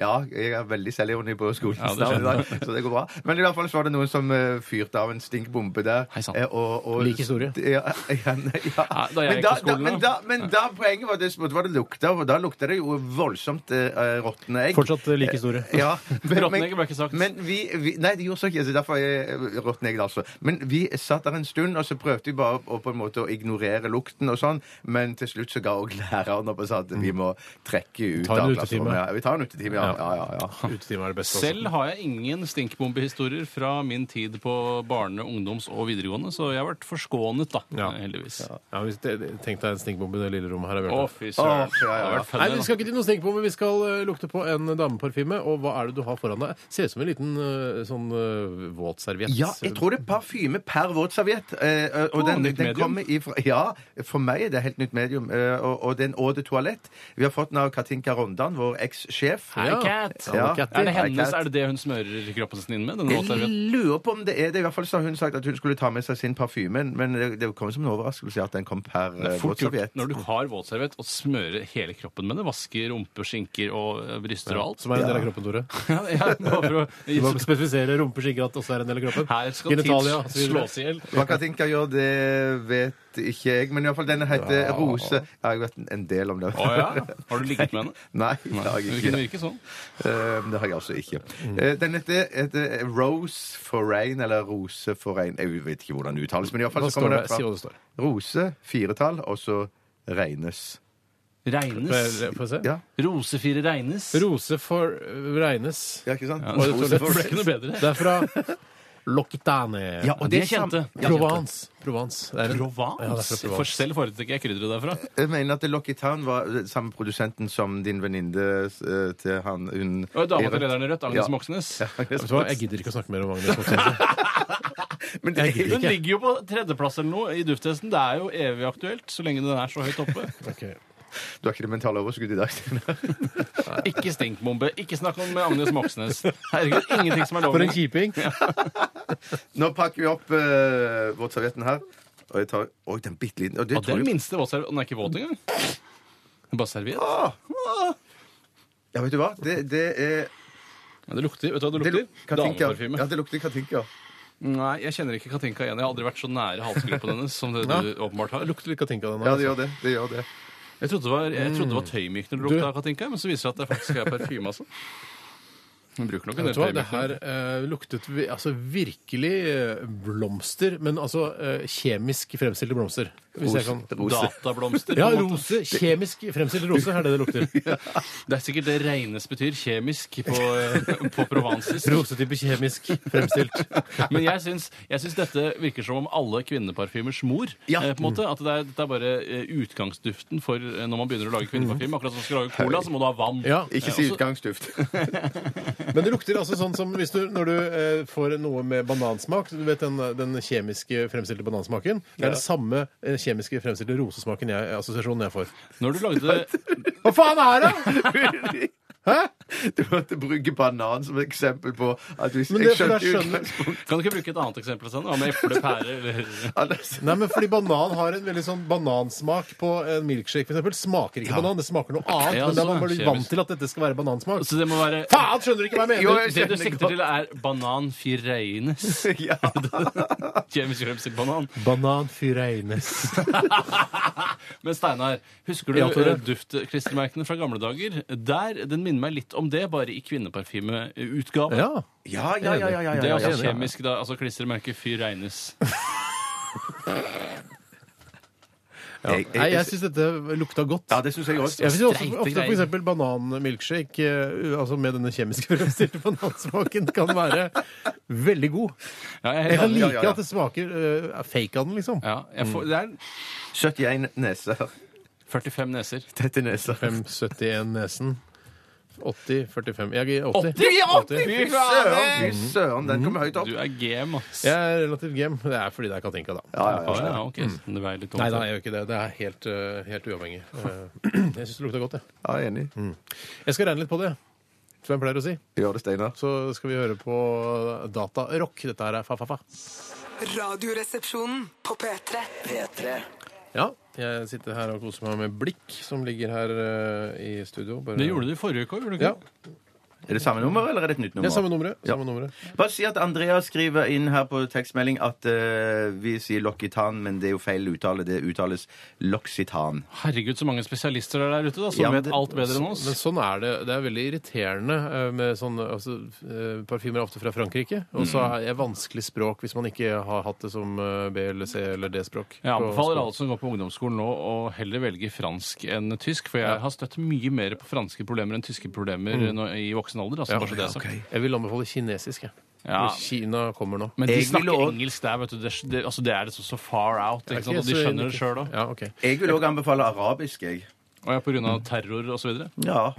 Ja, jeg er veldig selvironi på skolens
Ja, det
navn i dag, så det går bra. Men i hvert fall så var det noen som eh, fyrte av en stinkbombe der.
Hei sann.
eh, og- og-
Lik historie.
Ja, ja, nei, ja.
Ja, da jeg
Men
gikk
da-
på skolen,
da- men da- Men da poenget var det, var det lukta, og da lukta det jo voldsomt eh, råtne egg.
Fortsatt eh, like store.
Ja, men,
Rottnegg ble ikke sagt.
Men vi, vi Nei, det gjorde så ikke så derfor er Rottnegg, altså. Men vi satt der en stund, og så prøvde vi bare å, på en måte, å ignorere lukten og sånn, men til slutt så ga òg læreren opp og sa at vi må trekke ut
Ta en
av
utetime.
klasserommet. Ja, vi tar en utetime, ja. ja, ja, ja.
Utetime er det beste.
Selv har jeg ingen stinkbombehistorier fra min tid på barne-, ungdoms- og videregående, så jeg har vært forskånet, da,
Ja.
heldigvis.
også. Ja, hvis det- Tenk deg en stinkbombe i det lille rommet her. Bjarte.
Å, fy søren.
Å, ja, ja, ja.
Det har vært fun,
Nei,
det,
vi
da.
skal ikke til noen stinkbombe. Vi skal eh, lukte på en dameparfyme. Og hva er det du har foran deg? Ser ut som en liten eh, sånn eh, våtserviett.
Ja, jeg tror det er parfyme per våtserviett. eh, og den,
nytt
den
medium.
kommer ifra Ja, for meg er det helt nytt medium. eh, og, og det er en Eau de Toilette. Vi har fått den av Katinka Rondan, vår ekssjef.
Hei,
Ja.
Kat.
Ja.
Er det
Hei,
hennes,
Kat.
er det det hun smører kroppen sin inn med? Denne
Jeg
våtservietten?
lurer på om det er det. I hvert fall så har hun sagt at hun skulle ta med seg sin parfyme, men det, det kom som en overraskelse at den kom per
Det
eh,
er fort gjort
våtserviett.
når du har våtserviett og smører hele kroppen med det. Vasker rumper, skinker og eh, bryster og alt.
Som er en del av kroppen, Tore.
Ja, ja, bare for å-
Du må spesifisere rumpe, skinke, at også er en del av kroppen.
Her skal
Genitalia,
tids
så videre.
slås i hjel.
Hva Katinka gjør, det vet ikke jeg, men iallfall denne heter Rose. Ja, jeg vet en del om det.
Å ja? Har du ligget med henne?
Nei, det har
Det
jeg
kunne
ikke.
virke sånn.
Eh, det har jeg altså ikke.
Mm.
Eh, Den heter, heter Rose for Rain, eller Rose for Rain Jeg vet ikke hvordan det uttales, men iallfall
Hva
så
står
kommer
det?
det
Si hva
fra
det står.
Rose, firetall, og så Reines.
Regnes.
eh, Får jeg- får jeg se?
Ja,
Rosefire regnes.
Rose for eh, Reines.
ja ikke sant?
Ja,
Hva er
det
det,
er
Tore?
ikke noe bedre.
Det er fra Locitane.
Ja, og
De
det
er
er sam-
kjente.
Provence. Provence. Det er en- Ja, det
Provence?
er fra
For
Provence.
selv foretrekker jeg krydderet derfra.
Jeg mener at Lockitown var eh, samme produsenten som din venninne eh, til han hun
Og dama til lederen i Rødt, Agnes
Ja.
Moxnes.
Vet du hva, jeg gidder ikke å snakke mer om Agnes Moxnes.
Men det,
gidder
Hun ligger jo på tredjeplass eller noe i dufttesten. Det er jo evig aktuelt så lenge den er så høyt oppe.
Ok.
du har ikke det mentale overskuddet i dag, Steinar.
Ikke stinkbombe. Ikke snakk om Agnes Moxnes. Herregud, ingenting som er
For en
lovlig.
kjiping!
Nå pakker vi opp uh, våtservietten eh, her. Og jeg tar Oi, den bitte liten. Og det
Og det
tror
er den
jeg-
minste våtserviett. Den er ikke våt engang. Det er Bare serviett.
Ah! Ja, vet du hva? Det, det er
Ja, det lukter vet du hva det
det
lukter?
luk- Katinka.
Dameparfyme.
Ja, det lukter Katinka.
Nei, jeg kjenner ikke Katinka igjen. Jeg har aldri vært så nære halsgropen hennes som det du åpenbart har.
Lukter litt katinka den
Ja,
her.
det gjør det. det, gjør det.
Jeg trodde det var, jeg trodde det var tøymykner det
Du-
lukta av Katinka, men så viser det seg at det faktisk er parfyme, altså. Hun bruker nok en del
Vet du hva, det
tøymykner.
her eh, luktet vi, altså, virkelig eh, blomster, men altså eh, kjemisk fremstilte blomster. Hvis jeg kan.
Datablomster.
Ja,
på en måte.
rose. Kjemisk fremstilte rose er det det lukter.
Det er sikkert det regnes betyr kjemisk på, eh, på provansisk.
Rosetype kjemisk fremstilt.
Men jeg syns, jeg syns dette virker som om alle kvinneparfymers mor.
Ja.
Eh, på en måte, at det er, Dette er bare eh, utgangsduften for eh, når man begynner å lage kvinneparfyme. Akkurat som du skal lage cola, så må du ha vann.
Ja.
Ikke si utgangsduft.
Men det lukter altså sånn som hvis du, når du eh, får noe med banansmak Du vet den, den kjemiske fremstilte banansmaken? Det er den samme eh, kjemiske fremstilte rosesmaken jeg, assosiasjonen jeg får.
Når du lagde
Hva faen er det?!
Hæ? Du måtte bruke banan som eksempel på at hvis
Men
jeg
det er fordi jeg
skjønte
skjønner-
utgangspunktet
Kan du ikke bruke et annet eksempel? Sånn? Hva med eple, pære eller
Anders.
Nei, men fordi banan har en veldig sånn banansmak på en milkshake, for eksempel. Smaker ikke banan, det smaker noe annet.
Ja,
men da er
sånn,
man bare
kjemisk.
vant til at dette skal være banansmak.
Så Altså, det må være
Faen, skjønner du ikke hva jeg mener?
Jo, jeg
Det du
skjønner
sikter
godt.
til, er banan fireines.
Ja.
Kjemisk fremstilt banan.
Banan fyreines.
Men Steinar, husker du
Ja, Tore.
eh, duftklistremerkene fra gamle dager? Der, Den minner meg litt om det, bare i kvinneparfymeutgave.
Ja.
Ja, ja, ja, ja, ja,
Det er
ja, ja,
altså
ja.
kjemisk, da. Altså klistremerket Fyr regnes.
Jeg- jeg-
Nei, jeg syns dette lukta godt.
Ja, det syns jeg også.
Jeg synes
Streite
også ofte
greier.
f.eks. bananmilkshake eh, altså med denne kjemiske fremstilte banansmaken kan være veldig god.
Ja, jeg er
Jeg
helt
kan
enig.
Ja,
like
ja, ja.
at det smaker eh, er fake av den, liksom.
Ja, jeg får, det er
71 neser.
45 neser.
Tette neser.
571 nesen. 80, 45 Jeg er 80.
80! Fy
Søren,
faen!
fy søren, den kommer høyt opp.
Du er game, ass.
Jeg er relativt game. Det er fordi det er Katinka, da.
Ja, ja,
Ja,
ja.
ja, ok. Så det veier litt
Nei da,
tungt.
jeg gjør ikke det. Det er helt, eh, helt uavhengig. Eh, jeg syns det lukta godt, jeg.
ja enig.
Mm. Jeg skal regne litt på det, som jeg pleier å si.
Gjør det, Steinar.
Så skal vi høre på datarock. Dette her er fa-fa-fa.
Radioresepsjonen på P3.
P3
Ja, jeg sitter her og koser meg med Blikk, som ligger her eh, i studio. Bare...
Det gjorde du i forrige uke òg, gjorde du
Ja,
ikke? det?
Er det samme nummer, eller er det et nytt nummer?
Mm. det er samme nummeret. Samme nummeret.
Bare si at Andrea skriver inn her på tekstmelding at eh, vi sier Lokitan, men det er jo feil uttale. Det uttales Loksitan.
Herregud, så mange spesialister det er der ute, da, som
Ja, men
vet
det-
alt bedre enn oss.
Men sånn er det. Det er veldig irriterende eh, med sånne altså, eh, parfymer er ofte fra Frankrike. Og så
Mm.
er det vanskelig språk hvis man ikke har hatt det som eh, B eller C eller D-språk.
Jeg
på
anbefaler
skolen.
alle som går på ungdomsskolen nå å heller velge fransk enn tysk, for jeg har støtt mye mer på franske problemer enn tyske problemer nå- i voksen alder. Altså,
Mm. Ja,
bare så det er sagt.
Jeg vil anbefale kinesisk, jeg.
Ja.
For Kina kommer nå.
Men de
Jeg vil
snakker
også-
engelsk der, vet du. Det, det, altså, det er liksom så far out, ikke sant? og de
så-
skjønner det sjøl òg.
Ja, ok.
Jeg vil òg anbefale arabisk, jeg.
Og ja, på grunn av terror og så videre.
Ja.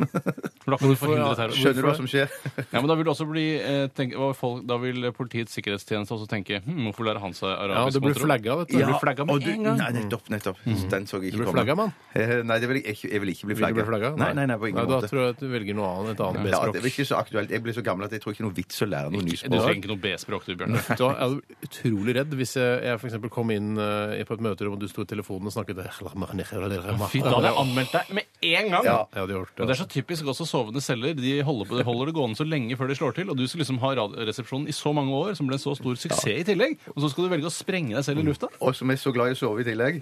For da kan du
ja,
forhindre terror.
Skjønner du hva som skjer?
Ja, men da vil det også bli eh, tenk, hva folk, Da vil Politiets sikkerhetstjeneste også tenke hm, Hvorfor lærer han seg
Ja,
arabisk?
det blir
mon tro?
flagga, vet du.
Ja. blir flagget med
og du-
en gang. Mm.
Nei, nettopp. nettopp. Den så jeg
Du blir
ikke komme.
flagga, mann.
Eh, Nei, det vil jeg, ikke, jeg vil ikke bli
Vil du bli
flagga.
flagga?
Nei, nei, nei, på
Da
ingen måte.
tror jeg at du velger noe annet, et annet
Ja, det
B-språk.
blir ikke så aktuelt. Jeg blir så gammel at jeg tror ikke det er noe vits å lære
Du
noe
trenger
nyspråk.
ikke noe B-språk, du, Bjørn.
Da er jeg hadde utrolig redd hvis jeg, jeg for eksempel kom inn eh, på et møterom, og du sto i telefonen og snakket eh,
Fy, da hadde jeg anmeldt deg med en gang!
Ja.
Jeg hadde gjort
Og
det.
Det er så typisk også sovende celler. De holder, på, de holder det gående så lenge før de slår til. Og du skal liksom ha Radioresepsjonen i så mange år, som ble en så stor suksess i tillegg. Og så skal du velge å sprenge deg selv i lufta?
Og som er så glad i å sove i tillegg.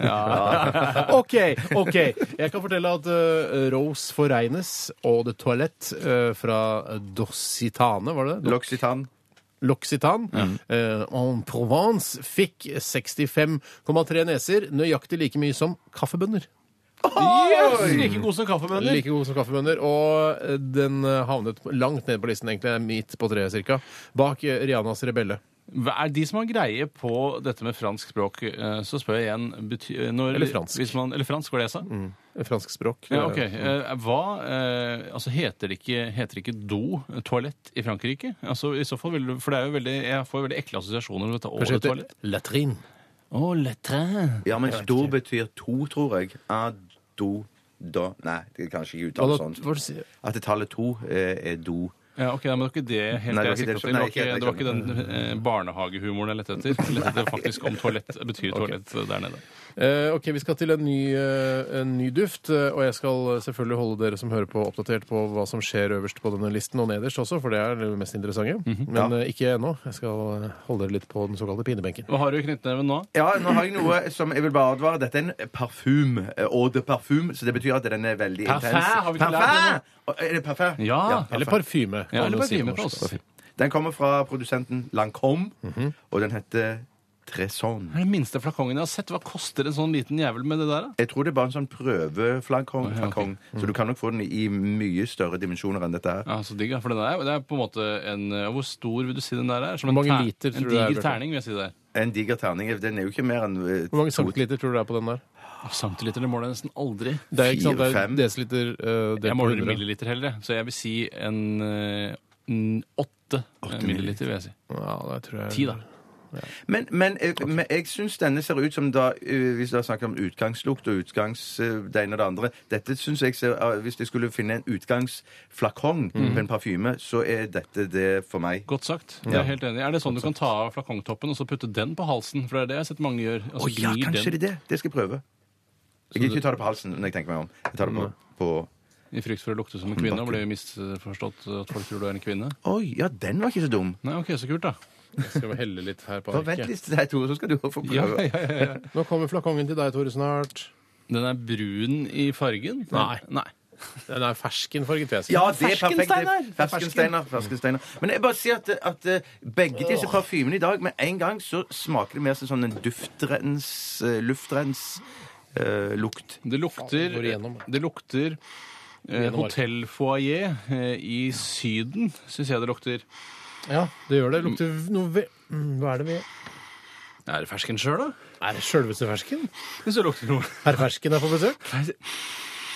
OK, OK. Jeg kan fortelle at eh, Rose for Reines og The Toilette eh, fra Dorsitane, var det det?
Loksitan.
L'Occitan eh, en Provence fikk 65,3 neser, nøyaktig like mye som kaffebønner.
Yes! Like god som kaffebønner.
Like god som kaffebønner. Og eh, den eh, havnet langt ned på listen, egentlig. Midt på treet, cirka. Bak eh, Rianas Rebelle.
Hva Er de som har greie på dette med fransk språk, eh, så spør jeg igjen bety eh, når,
Eller fransk. Mm.
Hvis man, eller fransk, var det jeg sa?
Fransk språk.
Ja, ok.
Mm.
Eh, Hva eh, Altså, heter det ikke, heter det ikke do, eh, toalett, i Frankrike? Altså, i så fall vil du For det er jo veldig Jeg får veldig ekle assosiasjoner med dette
Kanskje
året
heter
toalett.
latrin.
Oh, le train.
Ja, men do betyr to, tror jeg. A, do, da Nei, det er kanskje
Hva
ikke uttalt
da-
sånn.
hva du sier?
At det tallet to eh, er do.
Ja, ok, Men det var ikke det helt
Nei, det var
jeg
ikke det-
siktet til. Det
nei,
var
ikke
ikke,
helt
det var ikke den eh, barnehagehumoren jeg lette etter. Jeg lette etter faktisk om toalett betyr toalett der nede.
Eh, ok, Vi skal til en ny, eh, en ny duft, eh, og jeg skal selvfølgelig holde dere som hører på, oppdatert på hva som skjer øverst på denne listen, og nederst også, for det er det mest interessante. Men eh, ikke ennå. Jeg skal eh, holde dere litt på den såkalte pinebenken.
Hva har du i knyttneven nå?
Ja, nå har jeg noe som jeg vil bare advare. Dette er en parfym. Eau de parfum, så det betyr at den er veldig
Parfum,
intens.
har vi ikke lært det
Parfum! eh, Er det parfum?
Ja,
Eller parfyme.
Ja,
kan
eller
man si på
parfyme på
norsk.
oss. Det
Den kommer fra produsenten Lancôme,
Mhm.
og den heter Tresson.
er den minste flakongen jeg har sett. Hva koster en sånn liten jævel med det der, da?
Jeg tror det er bare en sånn prøveflakong,
ja, ok. Mm.
flakong, så du kan nok få den i mye større dimensjoner enn dette her.
Ja, så digg, ja. For den er, det er på en måte en ja, Hvor stor vil du si den der er? Som en,
Hvor mange
ter-
liter
en
tror du det er,
diger
Bjarte?
terning, vil jeg si det er.
En diger terning. Den er jo ikke mer enn eh,
Hvor mange
sånn?
centiliter tror du det er på den der?
Å, Centiliter det Ah, måler jeg nesten aldri.
Det er ikke sant, det er
Fire-fem.
desiliter eh, delt
Jeg
på
måler i
100.
milliliter heller, jeg. så jeg vil si en, eh, en åtte eh, milliliter. vil jeg si.
Ja, det tror jeg.
Ti, da.
Men, men, eh, men jeg syns denne ser ut som da eh, Hvis du har snakket om utgangslukt og utgangs eh, det ene og det andre Dette synes jeg ser, eh, Hvis jeg skulle finne en utgangsflakong
Mm.
på en parfyme, så er dette det for meg.
Godt sagt. Jeg er helt enig. Er det sånn du kan ta av flakongtoppen og så putte den på halsen? For det er det jeg har sett mange gjør.
Å
Altså,
ja,
gnir
kanskje
den
det er det! Det skal jeg prøve. Jeg gidder ikke ta det på halsen når jeg tenker meg om. Jeg tar det
Mm.
på, på
I frykt for å lukte som en kvinne og bli misforstått at folk tror du er en kvinne.
Oi, ja, den var ikke så dum.
Nei, ok, så kult, da.
Skal vi helle litt her på
Bare vent
arket?
litt til deg, Tore, så skal du få prøve.
Ja, ja, ja, ja.
Nå kommer flakongen til deg, Tore, snart.
Den er brun i fargen?
Nei.
Nei.
Den er ferskenfarget, vil jeg si.
Ja, det er perfekt. Det- Ferskensteiner. Ferskensteiner. Men jeg bare sier at, at eh, begge disse parfymene i dag med en gang så smaker det mer som sånn en duftrens, eh, luftrens eh, lukt.
Det lukter,
Går igjennom.
det lukter eh,
Igjennom.
hotellfoajé eh, i Syden, syns jeg det lukter.
Ja, det gjør det. Lukter noe ve... Mm, Hva er det vi
Er det fersken sjøl, da?
Er det sjølveste fersken?
Hvis det lukter noe.
Herr Fersken er på besøk?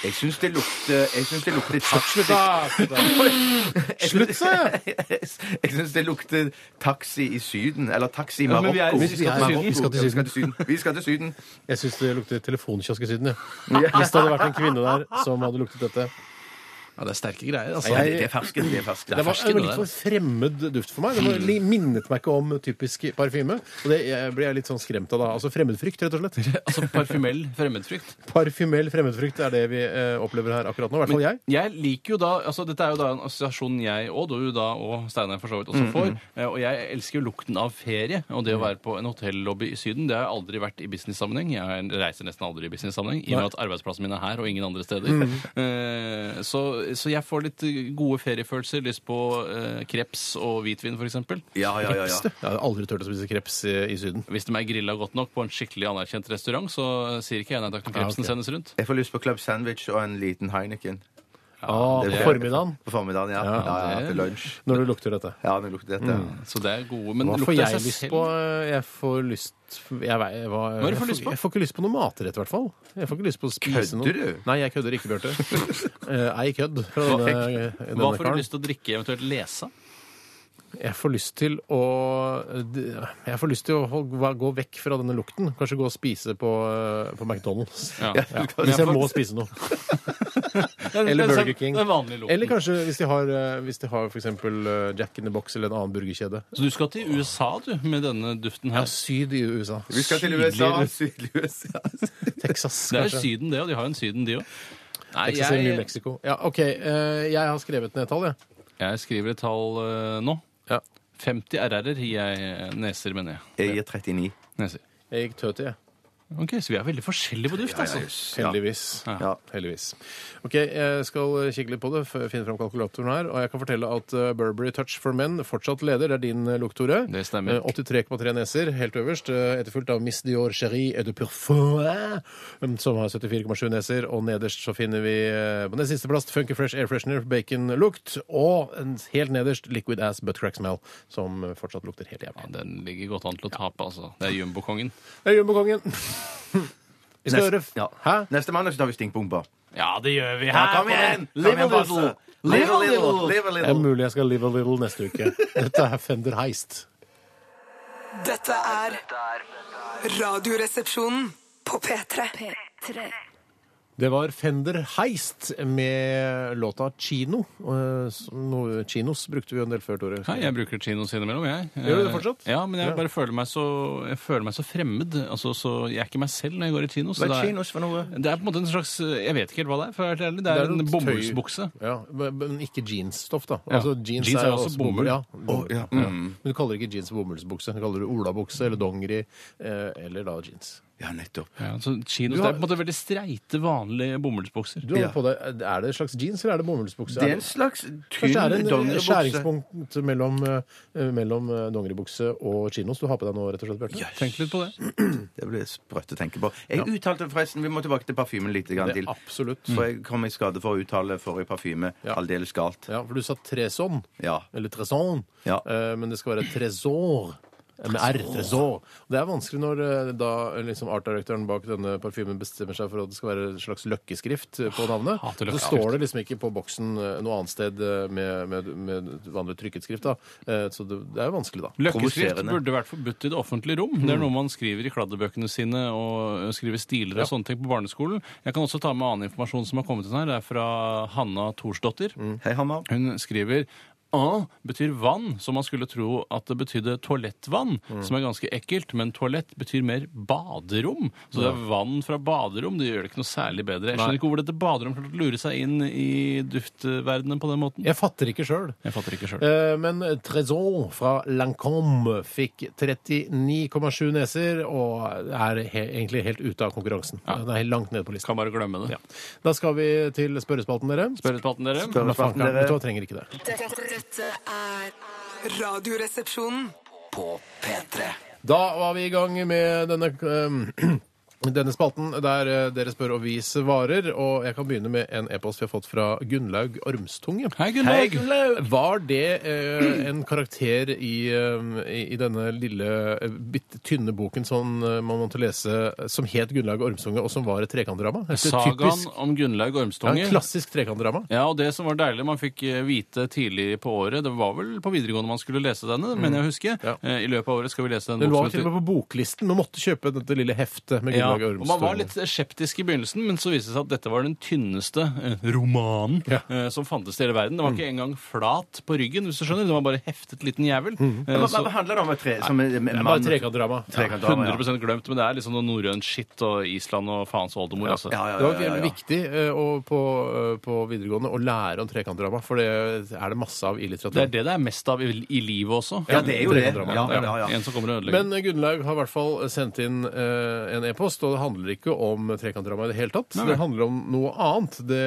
Jeg syns det lukter Jeg syns det lukter taxi.
Slutt, sa jeg!
Jeg syns det lukter taxi i Syden. Eller taxi i
Ja,
Marokko.
men vi er- vi skal til
Marokko.
Syden.
Vi skal til
Ja, Syden. Vi skal til Syden.
Jeg syns det lukter telefonkiosk i Syden, jeg. Hvis det hadde vært en kvinne der som hadde luktet dette.
Ja, det er sterke greier, altså.
Nei, Det er fersken. Det Mm. er fersken.
Det var
fersken,
en litt
det
for fremmed duft for meg. Det var, li- minnet meg ikke om typisk parfyme. Og det jeg ble jeg litt sånn skremt av da. Altså fremmedfrykt, rett og slett.
Altså parfymell fremmedfrykt.
Parfymell fremmedfrykt er det vi eh, opplever her akkurat nå. I hvert fall jeg.
Jeg liker jo da altså Dette er jo da en assosiasjon jeg og du da og Steinar for så vidt
Mm,
også får. eh, Og jeg elsker jo lukten av ferie. Og det å være på en hotellobby i Syden, det har jeg aldri vært i business-sammenheng. Jeg reiser nesten aldri i business-sammenheng, i og med at arbeidsplassen min er her og ingen andre steder.
Mm.
Eh, Så, så jeg får litt eh, gode feriefølelser. Lyst på eh, kreps og hvitvin, f.eks.
Ja, ja, ja, ja.
Jeg hadde aldri turt å spise kreps i, i Syden.
Hvis de er grilla godt nok på en skikkelig anerkjent restaurant, så sier ikke jeg nei takk når
Ja,
krepsen
ok.
sendes rundt.
Jeg får lyst på club sandwich og en liten Heineken.
Ah,
det-
på formiddagen,
På formiddagen, ja. ja, ja,
det-
Til lunsj.
når du lukter dette.
Ja, det lukter dette.
Mm.
Så det er gode, men
Hva får
lukter seg
jeg lyst
selv-
på? eh, Jeg får lyst jeg, vei- hva,
er det du
jeg,
får lyst på?
jeg får ikke lyst på noe matrett, i hvert fall. Jeg får ikke lyst på å spise
Kødder
noe.
du?
Nei, jeg kødder ikke, Bjarte. Eh, Ei kødd fra denne, eh, denne
Hva får
karen.
du lyst til å drikke, eventuelt lese?
Jeg får lyst til å eh, Jeg får lyst til å hol- hva- gå vekk fra denne lukten. Kanskje gå og spise på, eh, på McDonald's.
Ja.
Ja, hvis jeg må spise noe. Eller Burger King.
Den vanlige lukten.
Eller kanskje hvis de har, eh, hvis de har f.eks. Jack in the Box eller en annen burgerkjede.
Så du skal til USA, du, med denne duften her.
Syd i USA.
Vi skal til USA. Sydlig USA.
Texas,
Det er jo
kanskje.
Syden, det, og de har jo en Syden, de òg. Nei,
Texas eller New
jeg,
Mexico. Ja, OK. eh, Jeg har skrevet ned et tall, jeg.
jeg skriver et tall eh, nå.
Ja.
50 RR-er gir jeg eh, neser, mener jeg.
Jeg gir 39.
Neser.
Jeg gikk tøti, jeg.
Ok, Så vi er veldig forskjellige på duft, altså.
Heldigvis.
Ja.
Heldigvis. Ok, Jeg skal kikke litt på det, f- finne fram kalkulatoren her. Og jeg kan fortelle at eh, Burberry Touch for Men fortsatt leder. Det er din eh, lukt, Tore.
Det stemmer.
Eh, 83,3 neser, helt øverst. eh, Etterfulgt av Miss Dior Chérie et de Parfum, eh, som har 74,7 neser. Og nederst så finner vi eh, på nest siste plass Funky Fresh Air Freshener Bacon-lukt. Og en helt nederst Liquid Ass Butt Crack Smell, som eh, fortsatt lukter helt jævlig.
Ja, den ligger godt an til å tape, altså. Det er jumbokongen.
Det er jumbokongen. Vi skal høre
ja.
Hæ?
Neste mandag så tar vi stinkbomber.
Ja, det gjør vi
Ja, kom igjen! Kom igjen, Basse. Live a little! Live a
Det er
little!
mulig jeg skal live a little neste uke. Dette er Fender Heist.
Dette er Radioresepsjonen på P3.
Det var Fender Heist med låta 'Kino'. Eh, som- noe- Kinos brukte vi jo en del før, Tore.
Nei, jeg bruker chinos innimellom, jeg. Eh,
Gjør du det fortsatt?
Ja, men
Ja.
jeg bare føler meg så, jeg føler meg så fremmed. Altså, så jeg er ikke meg selv når jeg går i chinos. så
Hva er
det er-
kinos for noe?
Det er på en måte en slags Jeg vet ikke helt hva det er. for å være helt ærlig. Det er, en
noe
bomullsbukse.
tøy. Ja, men men ikke jeansstoff, da.
Ja.
Altså, jeans,
Jeans
er jo også bomull. Ja.
Å, ja.
Ja. Men du kaller det ikke jeans for bomullsbukse. Du kaller det olabukse eller dongeri eh, eller da jeans.
Ja, nettopp.
Ja, så chinos,
Du
Det
har-
er på en måte veldig streite, vanlige bomullsbukser.
Du har
Ja.
på deg, er det en slags jeans eller er det bomullsbukse?
Det er en slags tynn
Kanskje det er en
dongeribukse.
skjæringspunkt mellom, eh, mellom eh, dongeribukse og chinos du har på deg nå, rett og slett, Bjarte?
Tenk litt på det.
Det blir sprøtt å tenke på. Jeg uttalte forresten Vi må tilbake til parfymen litt grann
Det
til.
er absolutt. Mm.
For jeg kom i skade for å uttale forrige parfyme
Ja.
aldeles galt.
Ja, for du sa treson,
Ja.
eller treson,
Ja.
Eh, men det skal være tresor. Eh, Med R, tresor. Det er vanskelig når eh, da liksom artdirektøren bak denne parfymen bestemmer seg for at det skal være en slags løkkeskrift eh, på navnet.
Hater
Så
løkkeskrift.
står det liksom ikke på boksen eh, noe annet sted eh, med, med, med vanlig trykket skrift. da. Eh, Så det, det er jo vanskelig, da.
Løkkeskrift
Provoserende.
burde vært forbudt i det offentlige rom. Det er noe man skriver i kladdebøkene sine og øh, skriver stiler og sånne ting på barneskolen. Jeg kan også ta med annen informasjon som har kommet inn her. Det er fra Hanna Thorsdottir.
Mm.
Hei, Hamar.
Hun skriver A betyr vann, som man skulle tro at det betydde toalettvann,
Mm.
som er ganske ekkelt, men toalett betyr mer baderom. Så det er vann fra baderom. Det gjør det ikke noe særlig bedre. Jeg skjønner ikke hvor dette baderom klarte å lure seg inn i duftverdenen på den måten.
Jeg fatter ikke sjøl.
Jeg fatter ikke sjøl.
Eh, Men Trezon fra Lancôme fikk 39,7 neser og er he egentlig helt ute av konkurransen. Den er helt langt nede på listen.
Kan bare glemme det.
Da skal vi til spørrespalten, dere.
Spørrespalten, dere.
Spør- Spørrespalten,
Nei, faen,
dere.
Vet du hva, trenger ikke det.
Dette, dette er
Radioresepsjonen.
På P3.
Da var vi i gang med denne eh, denne spalten der eh, dere spør og vi svarer. Og jeg kan begynne med en e-post vi har fått fra Gunnlaug Ormstunge.
Hei, Gunnlaug.
Var det eh, en karakter i, eh, i, i denne lille, eh, bitte tynne boken som eh, man måtte lese, eh, som het Gunnlaug Ormsunge, og som var et trekantdrama? Et
Sagaen
typisk-
om Gunnlaug
ja,
Ormstunge.
en klassisk trekantdrama.
Ja, og det som var deilig, man fikk eh, vite tidlig på året Det var vel på videregående man skulle lese denne, mener jeg å huske.
Mm. Ja.
Eh, I løpet av året skal vi lese den.
Den
bok som
var til
heter-
og med på boklisten. Man måtte kjøpe dette lille heftet med Gunnlaug
og Man var
Ormstunge.
litt skeptisk i begynnelsen, men så viste det seg at dette var den tynneste eh, romanen
Ja. Mm.
eh, som fantes i hele verden. Den var ikke engang flat på ryggen, hvis du skjønner. Den var bare heftet liten jævel.
Mm.
Eh,
Hva,
så
hva handler det om? et Tre, som en, en
Det
mann?
var et trekantdrama.
Trekantdrama, ja.
100 glemt, men det er liksom noe norrønt skitt og Island og faens oldemor, altså.
Ja, ja,
Det
ja,
var
ja, ja.
veldig viktig eh, å- på, eh, på videregående å lære om trekantdrama, for det er det masse av i
Det er
litteraturen.
det det er mest av i, i livet også.
Ja, det er jo det. Ja, ja, ja.
En som kommer og ødelegger.
Men Gunnlaug har i hvert fall sendt inn eh, en e-post, og det handler ikke om trekantdrama i det hele tatt. Det handler om noe annet, det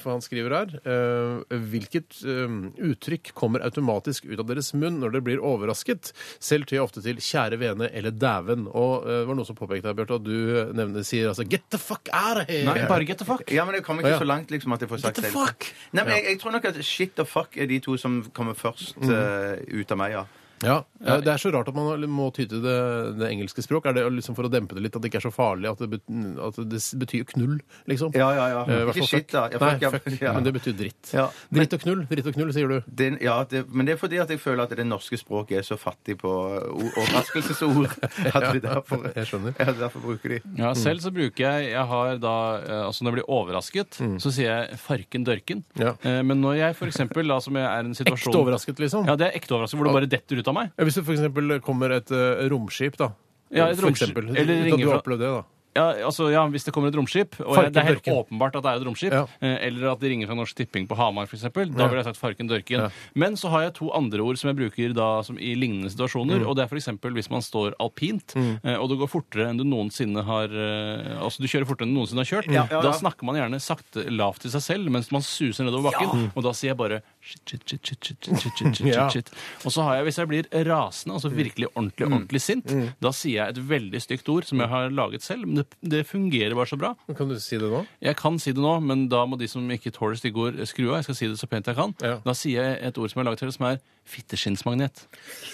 for han skriver her. eh, hvilket eh, uttrykk kommer automatisk ut av deres munn når dere blir overrasket? Selv tyr jeg ofte til 'kjære vene' eller 'dæven'. Og eh, det var noen som påpekte her, Bjarte, at du nevner, sier altså 'get the fuck out of here'.
Nei, bare get the fuck.
Ja, men jeg kommer
Å,
ikke
ja.
så langt liksom at jeg får sagt
What the
det.
fuck?
Nei, men jeg, jeg tror nok at shit og fuck er de to som kommer først
Mm.
eh, ut av meg, ja.
Ja, eh, Det er så rart at man må ty til det, det engelske språk. Er det liksom for å dempe det litt, at det ikke er så farlig, at det, bet- at det s- betyr knull, liksom?
Ja, ja, ja.
Eh, i hvert
Ikke
fall
shit,
fuck.
da. Ja,
Nei,
fuck, ja.
fuck.
Ja.
Men det betyr dritt.
Ja.
Dritt og knull, dritt og knull, sier du.
Det, ja det, men det er fordi at jeg føler at det norske språket er så fattig på o- overraskelsesord. At vi derfor,
jeg skjønner.
Ja, derfor bruker de.
Mm.
Ja, selv så bruker jeg Jeg har da, eh, altså når jeg blir overrasket, så sier jeg 'farken dørken'.
Mm. Ja.
Eh, Men når jeg for eksempel, da som jeg er i en situasjon
Ekte overrasket, liksom.
Ja, det er ekte overrasket, hvor det bare detter ut av meg.
Ja, Hvis det for eksempel kommer et eh, romskip, da.
Ja, et
For
romskip.
eksempel.
Eller
Uten at
ringer
Du har
fra-
opplevd det, da.
Ja, altså, ja, Hvis det kommer et romskip, og
Farken
jeg, det er helt
dørken.
åpenbart at det er et romskip,
Ja.
eh, eller at de ringer fra Norsk Tipping på Hamar, f.eks., da ville jeg sagt 'farken dørken'.
Ja.
Men så har jeg to andre ord som jeg bruker da som i lignende
Mm.
situasjoner, og det er f.eks. hvis man står alpint, eh, og det går fortere enn du noensinne har eh, Altså du kjører fortere enn du noensinne har kjørt,
Mm.
ja,
da
ja.
snakker man gjerne sakte lavt til seg selv mens man suser nedover bakken, og da sier jeg bare shit, shit, shit, shit, shit, shit, shit, shit, shit,
Ja.
shit. Og så har jeg, hvis jeg blir rasende,
Mm.
altså virkelig ordentlig, ordentlig sint, da sier jeg et veldig stygt ord som jeg har laget selv, men det, det fungerer bare så bra.
Kan du si det nå?
Jeg kan si det nå, men da må de som ikke tåler stygge ord, skru av. Jeg skal si det så pent jeg kan.
Ja.
Da sier jeg et ord som jeg har laget selv, som er fitteskinnsmagnet.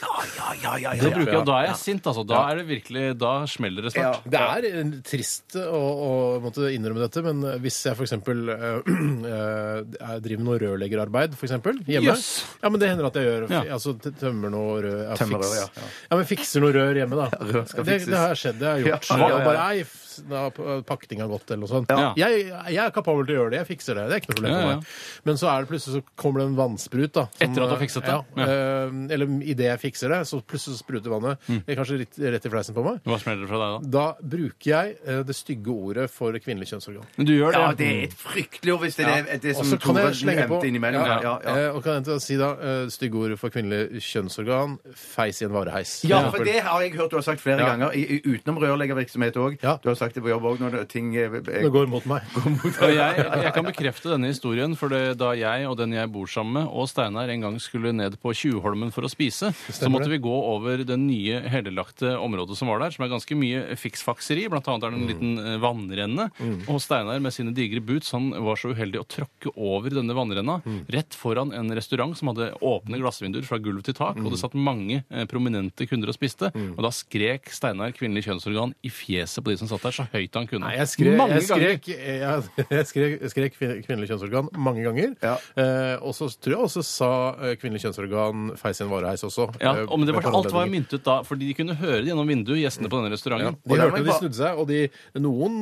Ja, ja, ja, ja.
Det bruker jeg, og da er jeg sint, altså. Da er det virkelig, da smeller det snart.
Det er eh, trist å, å måtte innrømme dette, men hvis jeg f.eks. Uh, driver med noe rørleggerarbeid, f.eks. hjemme
Jøss.
Ja, men det hender at jeg gjør.
Ja.
Altså t- tømmer noe rør. Ja,
Tømmer rør,
fiks.
ja,
ja. men fikser noe rør hjemme, da.
rør skal
det,
fikses.
det har skjedd, det har jeg gjort.
Ja, ja, ja.
Og bare, ei, f- da har p- pakninga gått, eller noe sånt.
Ja.
Jeg, jeg er kapabel til å gjøre det. Jeg fikser det. Det er ikke noe problem
Ja,
for
ja.
meg. Men så er det plutselig så kommer det en vannsprut. da.
Etter at du har fikset det?
Ja,
Ja.
eh, Eller idet jeg fikser det, så plutselig spruter vannet
Mm.
eh, kanskje rett, rett i fleisen på meg.
Hva smeller det fra deg da?
Da bruker jeg eh, det stygge ordet for kvinnelig kjønnsorgan.
Men du gjør det.
Ja, det er et fryktelig ord hvis det er det, det
Og
som
så kan
Tore
jeg slenge på
nevnte innimellom.
ja,
Ja, ja, ja.
eh, Og kan jeg si da eh, stygge ordet for kvinnelig kjønnsorgan feis i en vareheis.
Ja, for det har jeg hørt du har sagt flere
Ja.
ganger, i, i- utenom rørleggervirksomhet òg.
Ja.
Du har sagt det på jobb òg når det- ting eh, eh,
Det går mot meg.
Og jeg, jeg kan bekrefte denne historien, for det, da jeg og den jeg bor sammen med, og Steinar en gang skulle ned på Tjuvholmen for å spise, så måtte vi gå over det nye hellelagte området som var der, som er ganske mye fiksfakseri. Blant annet
Mm.
er det en liten eh, vannrenne. Og Steinar med sine digre boots han var så uheldig å tråkke over denne vannrenna
Mm.
rett foran en restaurant som hadde åpne glassvinduer fra gulv til tak, og
Mm.
det satt mange eh, prominente kunder og spiste. Og da skrek Steinar kvinnelig kjønnsorgan i fjeset på de som satt der, så høyt han kunne.
Nei, jeg skrek,
Mange
jeg
ganger.
skrek, jeg, jeg skrek, jeg skrek kvin- kvinnelig kjønnsorgan mange ganger.
Ja.
Eh, og så tror jeg også sa eh, kvinnelig kjønnsorgan feis i en vareheis også.
Ja,
eh,
og men det var,
ved
alt var
anledninger.
myntet da, fordi de kunne høre det gjennom vinduet, gjestene på denne restauranten.
De
Og der må
hørte
jeg
de
ba-
snudde seg, og de, noen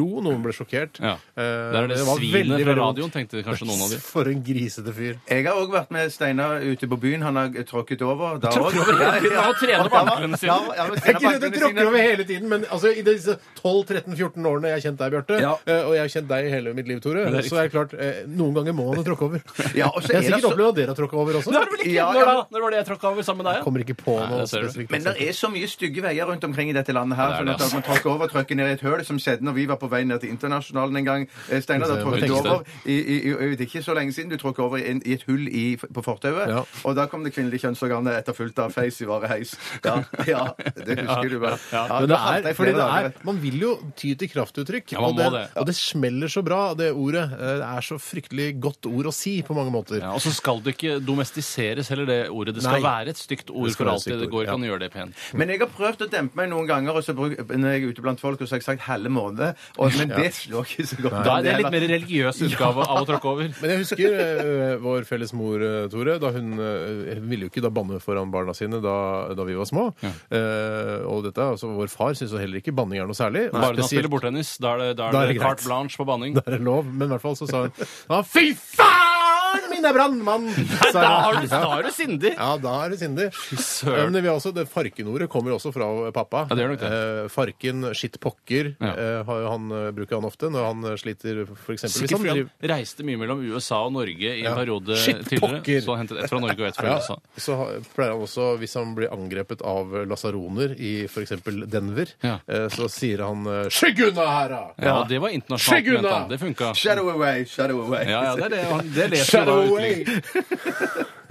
lo, noen ble sjokkert.
Ja.
Eh,
Der er det
var veldig,
svinet fra
veldig vondt.
radioen, tenkte kanskje noen av de.
For en grisete fyr.
Jeg har òg vært med Steinar ute på byen. Han har tråkket over. Da òg.
Han trener på anklene sine.
Jeg er ikke redd, jeg tråkker over hele tiden, men altså, i disse 12-13-14 årene jeg har kjent deg, Bjørte,
Ja.
eh, og jeg har kjent deg i hele mitt liv, Tore,
det er
så er det klart, eh, noen ganger må man jo tråkke over.
Ja, og så
jeg har
er det
sikkert
så-
opplevd at dere har tråkka over også.
Det har du vel ikke?
Ja,
når,
ja.
da? når var det jeg tråkka over sammen med deg?
Kommer ikke på noe
det ser du.
spesifikt.
Men det er så mye stygge veier rundt omkring i dette landet
Ja,
her.
det er
sånn
det, altså.
at man tråkker over, tråkker ned i et høl, som skjedde når vi var på vei ned til Internasjonalen en gang. Eh, Steinar, da
Det er
tråkket du
det
over i, i, i, Det er ikke så lenge siden du tråkket over i, en- i et hull i, på fortauet.
Ja.
Og da kom det kvinnelige kjønnsorganet etterfulgt av feis i vareheis. Ja, ja, det husker du vel. Ja,
Men
da
det
falt
er,
jeg
fordi
flere
det
dager
er,
etter.
man vil jo ty til kraftuttrykk,
Ja, man
og,
må
det,
det.
og det smeller så bra, det ordet. Eh, Det er så fryktelig godt ord å si på mange måter.
Ja, og så skal det ikke domestiseres heller, det ordet. Det skal
Nei.
være et stygt ord
Det skal
for
være et
alltid.
stygt
Det
ord,
går ikke
ja.
an å gjøre det pent.
Men jeg har prøvd å dempe meg noen ganger og så bruk, når jeg er ute blant folk, og så har jeg sagt 'halve måned', og, men det slår ikke så godt.
Da er det en litt mer religiøs utgave av å tråkke over.
Men jeg husker eh, vår felles mor, eh, Tore. da Hun eh, ville jo ikke da banne foran barna sine da, da vi var små. Eh, og dette, altså Vår far syntes jo heller ikke banning er noe særlig. og
Bare når han
spesielt-
spiller bordtennis, da er det, da
Da er
er det
det greit.
carte blanche på banning.
Da er det lov. Men i hvert fall så sa hun ja, Fy faen, min er brannmann! sa
Da
hun.
er du, da er du sindig!
Ja, da er det sindig.
søren.
Men vi har også, det Farken-ordet kommer jo også fra pappa.
Ja, det gjør nok det.
Eh, farken, shit pokker,
Ja.
eh, har jo han, eh, bruker han ofte når han eh, sliter f.eks.
Sikkert fordi han reiste mye mellom USA og Norge i en
Ja.
periode
Shit,
tidligere.
pokker!
Så han hentet et fra Norge og et fra
Ja,
USA.
så ha- pleier han også, hvis han blir angrepet av eh, lasaroner i f.eks. Denver,
Ja.
eh, så sier han eh, 'Skygg unna her, da!'
Ja, det var internasjonalt,
Skygg unna!
mente han. Det funka.
Shadow away, shadow away.
Ja, ja, det, er det, han- det leser jo da
Shadow
utenriks-
away!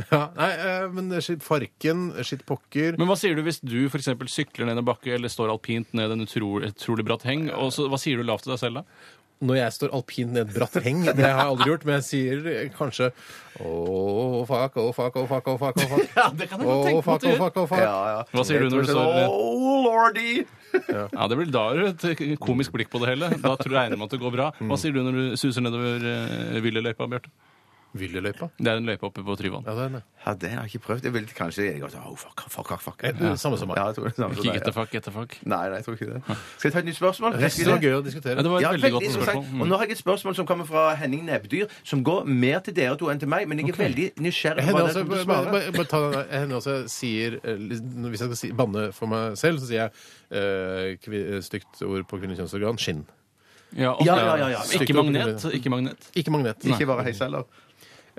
ja, nei, eh, men eh, shit, farken, shit pokker
Men hva sier du hvis du for eksempel sykler ned en bakke eller står alpint ned en utro, et utrolig bratt heng? Og så, hva sier du lavt til deg selv da?
Når jeg står alpint ned et bratt heng, det har jeg aldri gjort, men jeg sier eh, kanskje Oh, fuck, oh, fuck, oh, fuck, oh, fuck, oh, fuck.
Ja, det kan jeg godt
Oh,
tenke meg at
fuck,
du
oh,
gjør.
fuck, oh, fuck.
Ja, ja.
Hva sier du når du
Jeg tror
står-
sånn, Oh, lordy!
Ja, det blir da er det et eh, komisk blikk på det hele. Da tror jeg regner med at det går bra.
Mm.
Hva sier du når du suser nedover uh, Villeløypa, Bjarte?
Villeløypa?
Det er en løype oppe på Tryvann.
Ja, det er det.
Ja, det har jeg ikke prøvd. Jeg ville kanskje jeg også, oh, fuck, fuck, fuck, fuck.
Eh, det er Samme som meg.
Ja, jeg tror det er samme som
Ikke
deg, ja.
etterfuck, etterfuck.
Nei, nei, jeg tror ikke det. Skal jeg ta et nytt spørsmål?
Resten var gøy å diskutere.
Ja, det var et
Ja,
veldig
veldig
godt
interessant.
spørsmål.
Og
Mm.
nå har jeg et spørmål som kommer fra Henning Nebbdyr, som går mer til dere to enn til meg, men jeg er veldig nysgjerrig
Jeg
på
hender
hva
også,
dere kommer til å
bare-
svare.
bare- bare ta den der. Jeg hender også jeg sier eh, litt- Hvis jeg skal si, banne for meg selv, så sier jeg eh, kvi, eh, stygt ord på kvinnelig kjønnsorgan skinn.
Ja, og-
Ja, ja, ja, ja.
Ikke magnet. Ikke magnet.
Ikke magnet.
Ikke bare heis heller.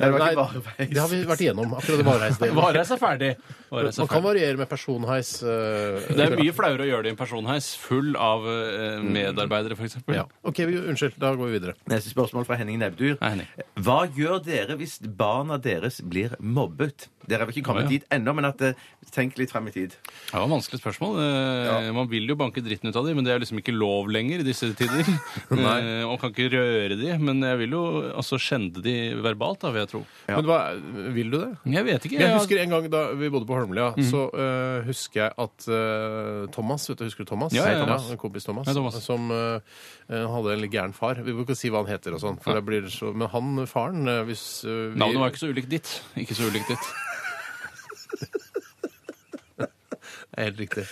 Nei, det var ikke bare
Nei,
heis.
det har vi vært igjennom. Akkurat det vareheisdelen.
Vareis er ferdig. Vareis er
Man kan
ferdig.
variere med personheis. eh,
Det er mye flauere å gjøre det i en personheis full av eh, medarbeidere, f.eks.
Mm. Ja. OK, vi, unnskyld. Da går vi videre.
Neste spørsmål fra Henning Nebbdyr.
Nei, Henning.
Hva gjør dere hvis barna deres blir mobbet? Dere har vel ikke
Å,
kommet
ja.
dit ennå, men at eh, tenk litt frem i tid.
Det var et vanskelig spørsmål. Eh, Man vil jo banke dritten ut av dem, men det er liksom ikke lov lenger i disse tider. Eh, og kan ikke røre de, men jeg vil jo altså skjende de verbalt, da, vil jeg tro.
Men hva, vil du det?
Jeg vet ikke. Mhm.
Jeg
jeg-
husker en gang da vi bodde på Holmlia, så eh, husker jeg at eh, Thomas Vet du, husker du Thomas?
Ja, ja, ja.
en kompis Thomas.
Hei, Thomas.
Som eh, eh, hadde en litt gæren far. Vi bør ikke si hva han heter og sånn, for det blir så Men han faren, eh, hvis eh, vi-
Navnet var ikke så ulikt ditt. Ikke så ulikt ditt.
er helt riktig.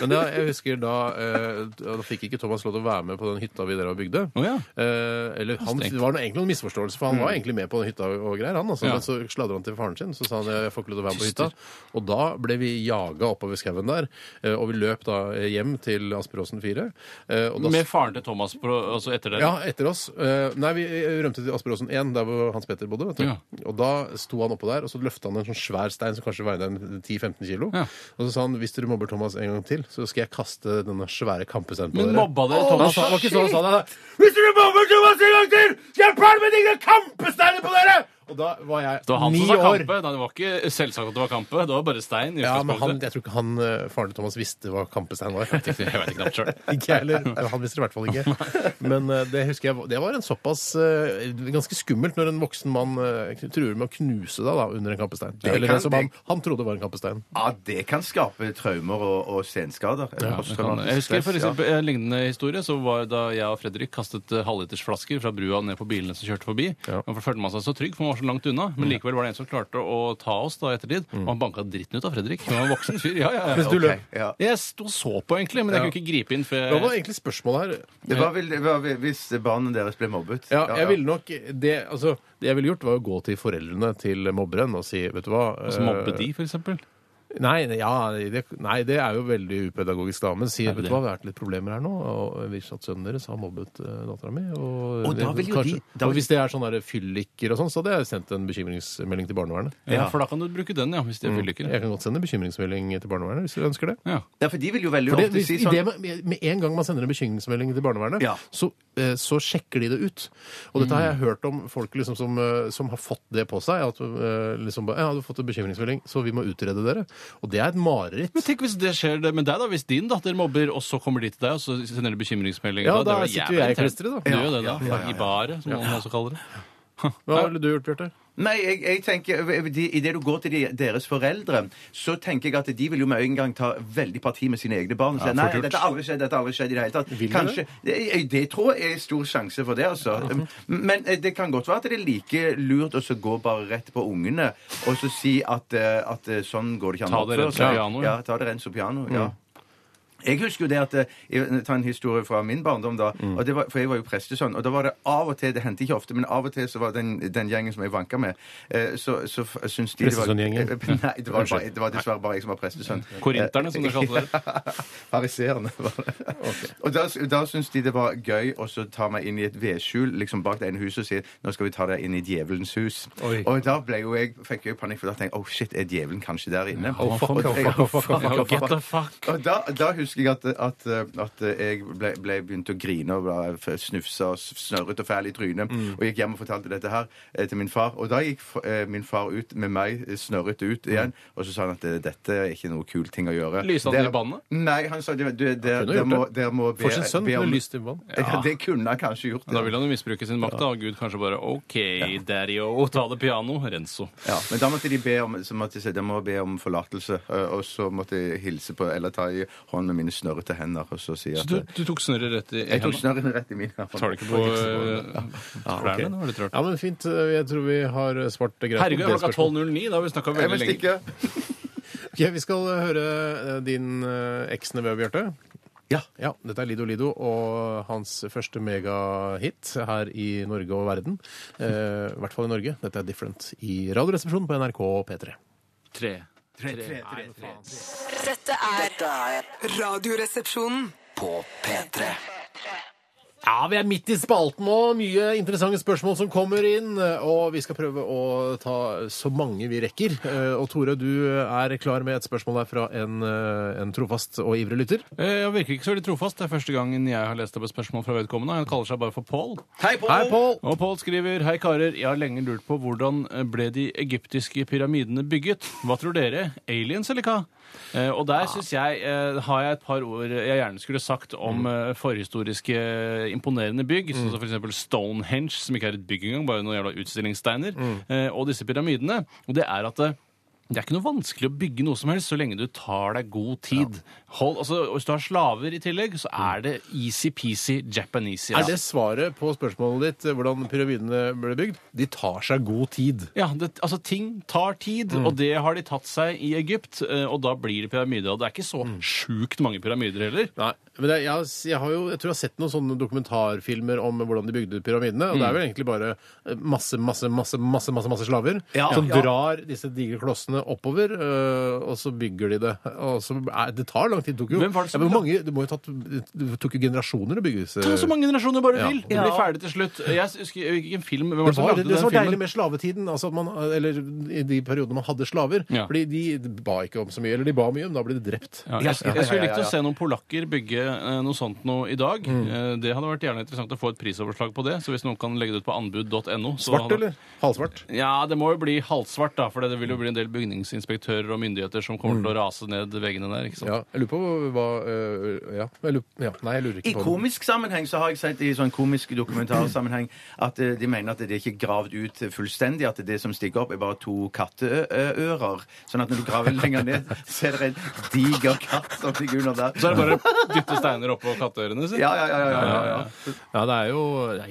Men ja, jeg husker da eh, Da fikk ikke Thomas lov til å være med på den hytta vi der og bygde.
Å ja.
Eh, eller han,
Strengt. Mm.
det var noe- egentlig noen misforståelse, for han var egentlig med på den hytta og greier, han. Altså,
Ja.
Men så sladra han til faren sin, så sa han jeg får ikke lov til å være med på hytta. Og da ble vi jaga oppover skauen der, eh, og vi løp da hjem til Asperåsen 4. eh, og da
Med faren til Thomas på, altså etter det?
ja, etter oss. Eh, nei, vi rømte til Asperåsen 1, der hvor Hans Petter bodde. vet du.
Ja.
Og da sto han oppå der, og så løfta han en sånn svær stein som kanskje veide en 10-15 kilo.
Ja.
Og så sa han hvis dere mobber Thomas en gang til, så skal jeg kaste denne svære kampesteinen på
Men
dere.
mobba dere
Han
Thomas?
sa, det var ikke sånn han sa det. Hvis dere mobber Thomas en gang til, skal jeg pælme med dine kampesteiner på dere! Og da var jeg
Det var han
ni
som sa
år.
kampe. Nei, det var ikke selvsagt at det var kampe. Det var bare stein. i
Ja, men han,
utgangspunktet.
jeg tror ikke han, eh, faren til Thomas visste hva kampestein var. Jeg vet
Jeg vet ikke navnet selv.
Ikke jeg heller. Han visste det i hvert fall ikke. Men eh, det husker jeg Det var en såpass eh, ganske skummelt når en voksen mann eh, kn- truer med å knuse deg da, under en kampestein. Eller
kan-
det som han, han trodde var en kampestein.
Ja, det kan skape traumer og, og senskader.
Ja, det kan- jeg husker for eksempel en lignende historie så var da jeg og Fredrik kastet eh, halvlitersflasker fra brua ned på bilene som kjørte forbi.
Ja. Mm.
Og følte man seg så trygg, for man var så langt unna. Men likevel var det en som klarte å ta oss da i ettertid. Og han banka dritten ut av Fredrik. Han var en voksen fyr. Ja, ja, ja.
du løp.
ja.
Jeg sto og så på, egentlig, men jeg
Ja.
kunne ikke gripe inn. For
Hva var
jeg...
egentlig spørsmålet her?
Det var vel det var vel hvis barna deres ble mobbet.
Ja, jeg ville nok det, altså, det jeg ville gjort, var å gå til foreldrene til mobberen og si Vet du hva eh,
Og så mobbe eh, de, for eksempel.
Nei, ja, det, nei, det er jo veldig upedagogisk, da. Men si
Er det
vet du
det?
hva, det har vært litt problemer her nå. og Vi at sønnen deres har mobbet uh, dattera mi. Og,
Og da vil jo
kanskje-
de- da vil-
og hvis det er sånne der fylliker og sånn, så hadde jeg sendt en bekymringsmelding til barnevernet.
Ja. For da kan du bruke den, ja, hvis de er fylliker.
Mm. Jeg kan godt sende en bekymringsmelding til barnevernet hvis dere ønsker det.
Ja.
Ja, for de vil jo veldig
For det,
ofte
hvis,
si
i det
sånn
med, med en gang man sender en bekymringsmelding til barnevernet,
Ja.
så, eh, så sjekker de det ut. Og dette har jeg hørt om folk liksom som, eh, som har fått det på seg. At eh, liksom, bare, ja, du har fått en bekymringsmelding, så vi må utrede dere. Og det er et mareritt.
Men tenk hvis det skjer det med deg, da. Hvis din datter mobber, og så kommer de til deg, og så sender de bekymringsmeldinger.
Ja, da
det er jo
sitter
jævlig
jo jeg i
irriterende.
klisteret, da.
Du gjør det, da.
Ja, ja, ja, ja.
I baret, som man også kaller det.
Hva ville du gjort, Bjarte?
Nei, jeg, jeg tenker Idet du går til de, deres foreldre, så tenker jeg at de vil jo med en gang ta veldig parti med sine egne barn. Og si, nei,
fort gjort.
dette har aldri skjedd, dette har aldri skjedd i det hele tatt.
Vil de
Kanskje, det? jeg- det tror jeg er stor sjanse for det, altså. Men eh, det kan godt være at det er like lurt å så gå bare rett på ungene og så si at, eh, at eh, sånn går det ikke an
Ta
å
det rent
oppføre seg.
som piano, ja. Mm.
Ja, ta det rent som piano. ja. Jeg husker jo det at eh, jeg Ta en historie fra min barndom, da.
Mm.
Og det var, for jeg var jo prestesønn. Og da var det av og til Det hendte ikke ofte, men av og til så var den, den gjengen som jeg vanka med, eh, så, så f- syns de det var-
Prestesønngjengen?
Eh, Nei, det var, bare, det var dessverre bare jeg som var prestesønn.
Korinterne, som de kalte det.
Fariserende, var det. Og da, da syns de det var gøy å så ta meg inn i et vedskjul liksom bak det ene huset og si nå skal vi ta deg inn i djevelens hus.
Oi.
Og da ble jo jeg, fikk jeg jo panikk, for da tenkte jeg oh shit, er djevelen kanskje der inne?
oh, fuck,
Og
oh,
jeg-
fuck, oh, fuck, oh, fuck.
Ja, Get the fuck!
og da, da husker jeg at, at, at jeg ble, ble begynt å grine og ble snufsa og snørret og fæl i trynet.
Mm.
Og gikk hjem og fortalte dette her eh, til min far. Og da gikk f- eh, min far ut med meg eh, snørret ut igjen, og så sa han at eh, dette er ikke noe kul ting å gjøre.
Lyste Mm. han
Dere-
i bandet?
Nei, han sa du, du, dere
kunne
dere
gjort
må,
det.
dere må be,
For sin sønn
be
kunne
om
lyst til vann.
ja, Det kunne han kanskje gjort.
Da vil han jo misbruke sin makt, da. Og Gud kanskje bare OK, Dario, ta det piano. Renzo.
Ja, men da måtte de be om, så måtte de, si, de må be om forlatelse. eh, Og så måtte jeg hilse på eller ta i hånd med mine snørrete hender og så si
Så
at eh,
du, du tok snørret rett i
Jeg tok
hendene?
snørren rett i mine.
Tar du ikke på eh, klærne? Det var litt rart.
Ja, men fint. Jeg tror vi har svart greit. på
Herregud,
det
klokka
spørsmålet.
12.09. Da har vi snakka
Jeg
veldig
vil
lenge.
stikke.
Ok, vi skal høre eh, din eh, eksnevø, Bjarte.
Ja.
Ja, dette er Lido Lido og hans første megahit her i Norge og verden. Eh, I hvert fall i Norge. Dette er Different i Radioresepsjonen på NRK P3.
Tre.
Dette er
Dette er
Radioresepsjonen.
på P3.
Ja, vi er midt i spalten nå. Mye interessante spørsmål som kommer inn. Og vi skal prøve å ta så mange vi rekker. Eh, Og Tore, du er klar med et spørsmål her fra en, eh, en trofast og ivrig lytter.
Eh, Jeg virker ikke så veldig trofast. Det er første gangen jeg har lest opp et spørsmål fra vedkommende. Han kaller seg bare for Paul.
Hei, Pål!
Hei, Pål!
Og Paul skriver Hei karer, jeg har lenge lurt på hvordan eh, ble de egyptiske pyramidene bygget? Hva tror dere? Aliens eller hva? Eh, og der synes jeg eh, har jeg et par ord jeg gjerne skulle sagt om eh, forhistoriske eh, imponerende bygg, sånn som for eksempel Stonehenge, som ikke er et bygg engang, bare noen jævla utstillingssteiner, eh, og disse pyramidene. Og det er at eh, Det er ikke noe vanskelig å bygge noe som helst så lenge du tar deg god tid. Hold, altså, og hvis du har slaver i tillegg, så er det easy-peasy Japanese.
Er det svaret på spørsmålet ditt eh, hvordan pyramidene ble bygd? De tar seg god tid.
Ja, det, altså Ting tar tid, og det har de tatt seg i Egypt. eh, Og da blir det pyramider. Og det er ikke så sjukt mange pyramider heller.
Nei, men det, jeg, har- jeg, har jo, jeg tror jeg har sett noen sånne dokumentarfilmer om hvordan de bygde pyramidene. Og det er vel egentlig bare eh, masse, masse, masse masse, masse, masse slaver
Ja,
som
ja.
drar disse digre klossene oppover, øh, og så bygger de det. Og så, nei, det tar lang tid. Det tok jo,
Hvem var det som
ja, men
la-
mange, det, må jo tatt, det tok jo generasjoner å bygge disse
Ta så mange generasjoner du bare
Ja.
vil! Det blir ferdig til slutt. Jeg husker hvilken film Hvem var
Det
det som
var
lagde
det, det
den
som var deilig
filmen?
med slavetiden, altså at man, eller i de periodene man hadde slaver.
Ja.
Fordi de ba ikke om så mye, eller de ba mye, men da ble de drept.
Ja, jeg,
Ja, ja,
jeg skulle
ja, ja,
likt
ja.
å se noen polakker bygge eh, noe sånt noe i dag.
Mm.
Eh, Det hadde vært gjerne interessant å få et prisoverslag på det. Så hvis noen kan legge det ut på anbud.no så
Svart,
hadde-
eller? Halvsvart?
Ja, det må jo bli halvsvart, da. For det vil jo bli en del bygningsinspektører og myndigheter som kommer til å rase ned veggene der. ikke sant?
Mm. Ja, jeg lurer på hva øh, ja, jeg lurer, ja, Nei, jeg lurer
I
ikke på det.
komisk sammenheng så har jeg sett i sånn komisk dokumentarsammenheng at eh, de mener at det er ikke gravd ut fullstendig, at det som stikker opp, er bare to katteører. Sånn at når du graver lenger ned, så er det en diger katt som ligger under der.
Så er det bare å dytte steiner oppå katteørene sine.
Ja, ja, ja. ja, ja, ja, ja.
Ja, det er jo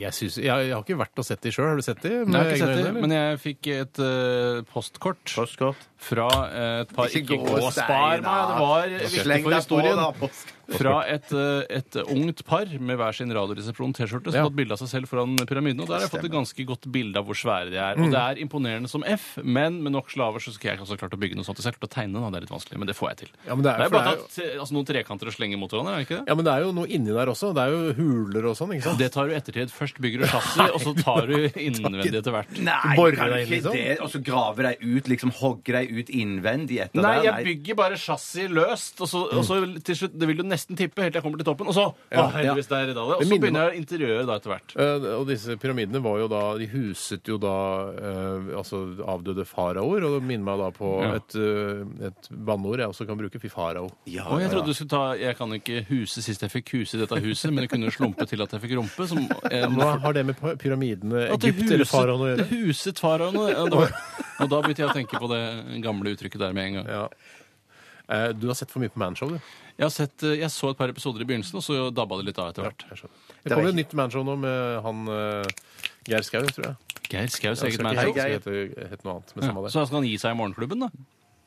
Jeg, synes, jeg, jeg har ikke vært og sett de sjøl. Har du sett de?
Jeg har ikke
egne
sett det,
øyne, eller?
men jeg fikk et eh, postkort
Postkort.
fra eh, et par
Ikke
Ikke
gå
gå og spar meg!
stein,
Det
da.
var viktig
Sleng
for
deg på,
historien.
da. Post.
Fra et, eh, et ungt par med hver sin Radioresepsjon-T-skjorte som
Ja.
har tatt bilde av seg selv foran pyramiden. Og der har jeg fått et ganske godt bilde av hvor svære de er. Og det er imponerende som F, men med nok slaver så skulle jeg også klart å bygge noe sånt. Så jeg klarte å tegne, da. Det er litt vanskelig, men det får jeg til.
Ja, men det er-
jo
for
bare
det er
tatt eh, altså, noen trekanter og slenger mot hverandre, er det ikke det?
Ja, men det er jo noe inni der også. Det er jo huler og sånn. ikke sant?
Det tar du i ettertid. Først bygger du chassis, og så tar du innvendig etter hvert.
Nei,
Borer
kan
deg inn,
du ikke
liksom?
det? Og så grave deg ut, liksom hogge deg ut innvendig etter
Nei,
det?
jeg bygger bare chassis løst, og så, og så til slutt Det vil du nesten tippe helt til jeg kommer til toppen, og så
Mm. Ja,
å, heldigvis der i dallet.
Det
Og så
minner
begynner jeg interiøret da etter hvert.
Eh, og disse pyramidene var jo da De huset jo da eh, altså avdøde faraoer. Og det minner meg da på
Ja.
et, eh, et banneord jeg også kan bruke. Fy farao.
Ja,
Og jeg
ja.
trodde du skulle ta 'Jeg kan ikke huse sist jeg fikk huse i dette huset', men jeg kunne slumpe til at jeg fikk rumpe. Som, eh,
Hva har det med pa- pyramidene,
at det
Egypt eller
huset-
faraoen å gjøre?
Det huset faraoen. ja, det var- Og da begynte jeg å tenke på det gamle uttrykket der med en gang.
Ja. Eh, du har sett for mye på Manshow, du.
Jeg, har sett, eh, jeg så et par episoder i begynnelsen, og så dabba det litt av etter hvert.
Jeg skjønner. Det kommer jo et nytt Manshow nå med han eh, Geir Skau, tror jeg.
Geir Skaus eget
Jeg skal ikke
mansion.
huske hva det heter- het noe annet, men
Ja.
samme det.
Så skal han gi seg i morgenklubben, da?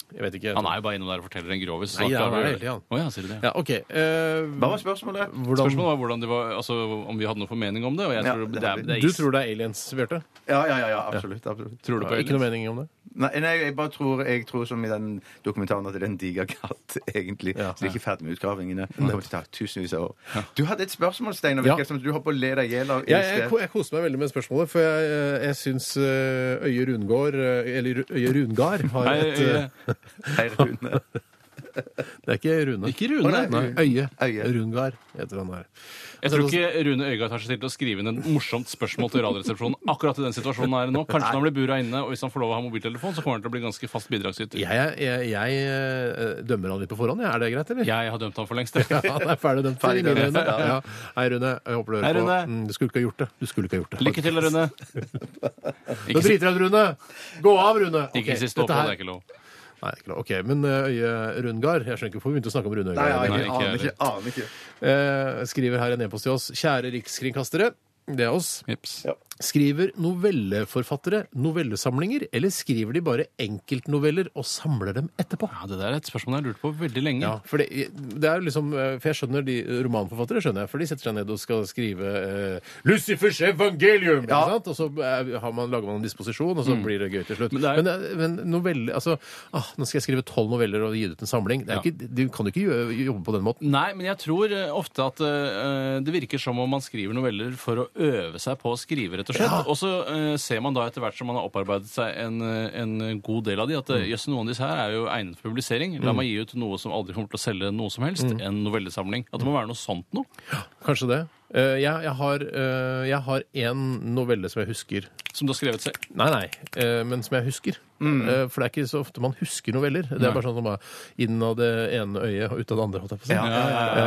Jeg vet ikke.
Han er jo bare innom der og forteller en grovis. så
Nei,
da
han er
klarer
heldig, han.
Å ja, sier du det?
Ja, OK. eh,
Hva var spørsmålet?
hvordan
Spørsmålet var hvordan det var, altså, om vi hadde noen formening om det. Og jeg
Ja,
tror
det
det,
har
er,
vi.
det er
Du tror det er aliens, Bjarte?
Ja, ja, ja, ja absolutt. absolutt.
Tror du på
Ikke noe
aliens?
mening om det?
Nei, nei, jeg bare tror, jeg tror som i den dokumentaren at det er en diger katt, egentlig.
Ja.
Så de er ikke ferdig med utgravingene. Det kommer til å ta tusenvis av år. Du hadde et spørsmål, Steinar,
Ja.
ja. som du holdt på å le deg i hjel av.
Jeg,
i
jeg,
sted.
ko- jeg koste meg veldig med spørsmålet, for jeg, eh, jeg syns eh, Øye Rungård eh, Eller Ru- Øye Rungard har
Nei,
et eh,
Hei, Rune.
Det er ikke Rune.
Ikke Rune.
Å, nei, Øye.
Øye.
Rungard heter han her.
Jeg
altså,
tror ikke Rune Øygard tar seg til til å skrive inn et morsomt spørsmål til Radioresepsjonen akkurat i den situasjonen han er i nå. Kanskje han blir bura inne, og hvis han får lov å ha mobiltelefon, så kommer han til å bli ganske fast bidragsyter.
Jeg, jeg, jeg eh, dømmer han litt på forhånd, jeg. Er det greit, eller?
Jeg har dømt han for lengst. jeg.
Ja, det er ferdig dømt for i
Ferdig
mine
dømt,
øyne. Ja. Hei, Rune. Jeg håper du
Hei,
hører på.
Rune.
Mm, Du skulle ikke ha gjort det. Du skulle ikke ha gjort det.
Lykke til, Rune.
Nå
Ikke, si-
driter jeg ut, Rune! Gå av, Rune!
ikke
Ok,
si stå
dette
på,
her-
det er ikke lov.
Nei, ikke lov. OK. Men eh, Øye Rundgard Jeg skjønner ikke hvorfor vi begynte å snakke om Rune
Nei,
Øygard.
jeg
Nei, ikke
aner
heller.
ikke. Aner ikke.
Eh, skriver her en e-post til oss. Kjære rikskringkastere. Det er oss.
Jips.
Skriver novelleforfattere novellesamlinger, eller skriver de bare enkeltnoveller og samler dem etterpå?
Ja, det der er et spørsmål jeg har lurt på veldig lenge.
Ja, for det, det er jo liksom eh, For jeg skjønner de romanforfattere, skjønner jeg, for de setter seg ned og skal skrive eh, 'Lucifers evangelium', ikke sant? Og så eh, har man, lager man en disposisjon, og så blir det gøy til slutt.
Mm. Men
Men,
det er-
eh, men novelle Altså, ah, nå skal jeg skrive tolv noveller og gi ut en samling. Det er
Ja.
ikke, du kan jo ikke gjø- jobbe på den måten.
Nei, men jeg tror eh, ofte at eh, det virker som om man skriver noveller for å øve seg på å skrive, rett og slett. Og så eh, ser man da etter hvert som man har opparbeidet seg en, eh, en god del av de, at eh,
Mm.
jøss, noen av disse her er jo egnet for publisering. La
Mm.
meg gi ut noe som aldri kommer til å selge noe som helst. En novellesamling. At det må være noe sånt noe.
Kanskje det. Eh, jeg, jeg har eh, Jeg har én novelle som jeg husker.
Som du har skrevet selv.
Nei, nei, eh, men som jeg husker. Eh, For det er ikke så ofte man husker noveller. Det er bare sånn som bare inn av det ene øyet og ut av det andre. holdt jeg på å si.
Ja, ja,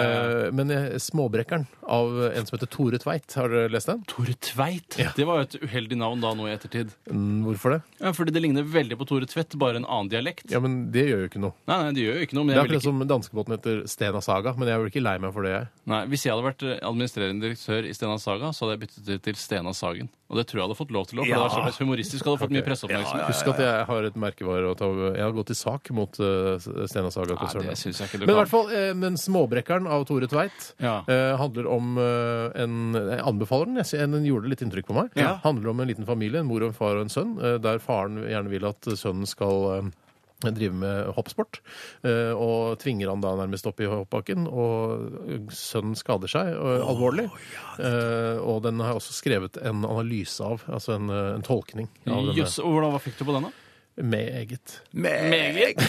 Eh, Men jeg- 'Småbrekkeren' av en som heter Tore Tveit. Har dere lest den?
Tore Tveit. Det var jo et uheldig navn da nå i ettertid.
Mm, Hvorfor det?
Ja, Fordi det ligner veldig på Tore Tvedt, bare en annen dialekt.
Ja, men Det gjør jo ikke noe.
Nei, nei, det gjør jo ikke noe. Men
Det er
jeg vil
akkurat
ikke...
som danskebåten heter Stena Saga, men jeg er vel ikke lei meg for det, jeg.
nei, hvis jeg hadde vært eh, administrerende direktør i Stena Saga, så hadde jeg byttet det til Stena Sagen. Og det tror jeg hadde fått lov til òg, for det var såpass humoristisk. Hadde fått mye presseoppmerksomhet.
Husk at jeg har et merkevare å ta Jeg har gått i sak mot eh, Stena Saga-konsernet.
Nei, det synes jeg ikke du
men i
kan.
hvert fall, eh, men 'Småbrekkeren' av Tore Tveit
Ja.
eh, handler om eh, en Jeg anbefaler den. Jeg, ser- den gjorde litt inntrykk på meg.
Ja.
Handler om en liten familie, en mor og en far og en sønn, eh, der faren gjerne vil at sønnen skal eh, drive med hoppsport, eh, og tvinger han da nærmest opp i hoppbakken. Og sønnen skader seg eh, alvorlig. Eh, Og den har jeg også skrevet en analyse av, altså en, eh, en tolkning. av denne.
Jøss, og hvordan, Hva fikk du på den, da?
Meget.
Meget!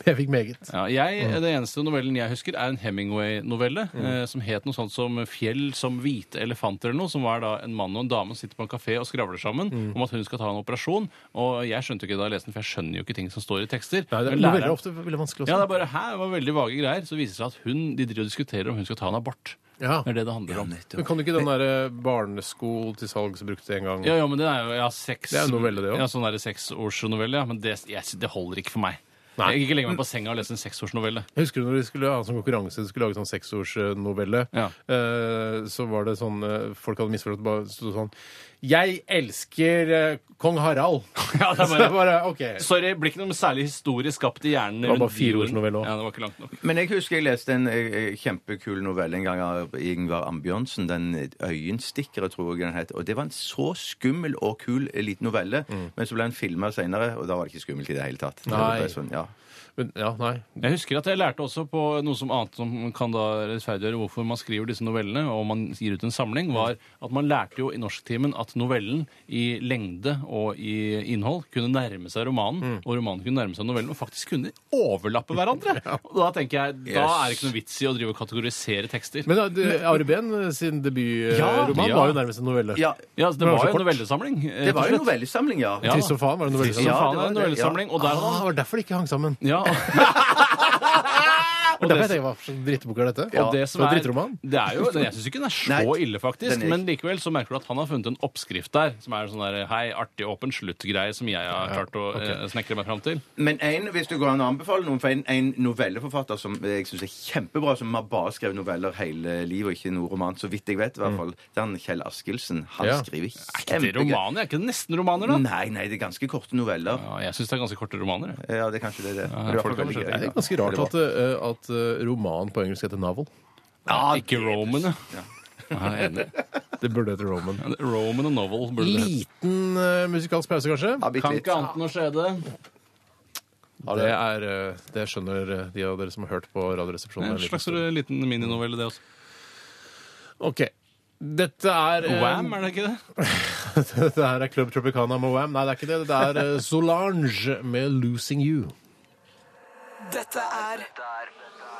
Jeg fikk meget.
Ja, jeg, Det eneste novellen jeg husker, er en Hemingway-novelle eh, som het noe sånt som 'Fjell som hvite elefanter' eller noe, som var da en mann og en dame som sitter på en kafé og skravler sammen om at hun skal ta en operasjon. Og jeg skjønte jo ikke det da jeg leste den, for jeg skjønner jo ikke ting som står i tekster.
Nei, det
Men
er
læreren-
veldig ofte veldig vanskelig også.
Ja, det er bare her, det var veldig vage greier. Så viser det seg at hun, de driver og diskuterer om hun skal ta en abort.
Ja.
Det er det det handler om.
Men kan du ikke den der eh, barnesko til salgs brukte en gang?
Ja, ja, men det er jo ja, seks...
Det er jo novelle, det også.
Ja, sånn er det seksårsnovelle, ja. Men det, jeg, det holder ikke for meg.
Nei.
Jeg kan ikke legge meg på senga og lese en seksårsnovelle.
Jeg Husker du når de skulle ha en sånn konkurranse, de skulle lage sånn seksårsnovelle,
Ja.
eh, så var det sånn eh, Folk hadde misforstått, bare stod sånn Jeg elsker eh, kong Harald!
Ja, det er
Så
bare-
det er bare OK.
Sorry, blir ikke noe særlig historie skapt i hjernen.
Det var bare
rundt de
fireårsnovelle
ordene.
også.
Ja, det var ikke langt nok.
Eh, Men jeg husker jeg leste en eh, kjempekul novelle en gang av Ingvar Ambjørnsen. Den eh, 'Øyenstikkere', tror jeg den het. Og det var en så skummel og kul eh, liten novelle. Men så ble den filma seinere, og da var det ikke skummelt i det hele tatt. Det
Mm. Nei.
ble Sånn, ja.
Men, ja, nei.
Jeg husker at jeg lærte også på noe som annet som kan da rettferdiggjøre hvorfor man skriver disse novellene, og man gir ut en samling, var at man lærte jo i norsktimen at novellen i lengde og i innhold kunne nærme seg romanen, og romanen kunne nærme seg novellen, og faktisk kunne overlappe hverandre. Og da tenker jeg, da
Yes.
er det ikke noe vits i å drive og kategorisere tekster.
Men uh, Ari Behn eh, sin
Ja,
debutroman
ja.
var jo nærmest en novelle.
ja.
ja, altså, det
Men det var
var jo en
så kort.
novellesamling. eh,
Det var jo en novellesamling, ja.
Ja.
ja.
Trist som faen var det en novelle.
Som
Ja,
faen er
det var
en
det, ja.
novellesamling, og der hadde
Ah,
han...
det var derfor det ikke hang sammen.
Ja,
Og derfor jeg tenker, Hva slags drittebok er dette?
Og det som
Så
er,
Drittroman?
det er jo, Jeg syns ikke den er så
Nei,
ille, faktisk.
den er ikke-
Men likevel så merker du at han har funnet en oppskrift der som er sånn der, hei, artig, åpen slutt-greie som jeg har klart å eh, snekre meg fram til.
Men en, hvis du går an å anbefale noen, for en, en novelleforfatter som jeg syns er kjempebra, som har bare skrevet noveller hele livet og ikke noe roman, så vidt jeg vet, i hvert fall, det er han Kjell Askildsen. Han
Ja.
skriver
Mm. Er ikke det
kjempegøy.
romaner? Er ikke det nesten romaner, da?
Nei, nei, det er ganske korte noveller.
Ja, jeg syns det er ganske korte romaner. jeg.
Ja, det er kanskje det. det.
Ja,
Men i
folk
hvert fall
har skjønt
veldig gøy,
det.
Det
da.
er ganske rart at, eh, at eh, roman på engelsk heter novel.
ikke Roman, ja. Nei, jeg er enig.
Det burde hete Roman.
Roman og novel burde det hete.
Liten eh, musikalsk pause, kanskje?
Ja, bitte
Kan
litt.
ikke annet enn å skje det.
det, er, eh, det skjønner eh, de av dere som har hørt på Radioresepsjonen.
En
en liten
slags
stund.
liten mininovelle, det også.
Ok. Dette er eh,
Wham, er det ikke det?
Dette her er Club Tropicana med Wham. Nei, det er ikke det. Det er eh, Solange med 'Losing You'.
Dette er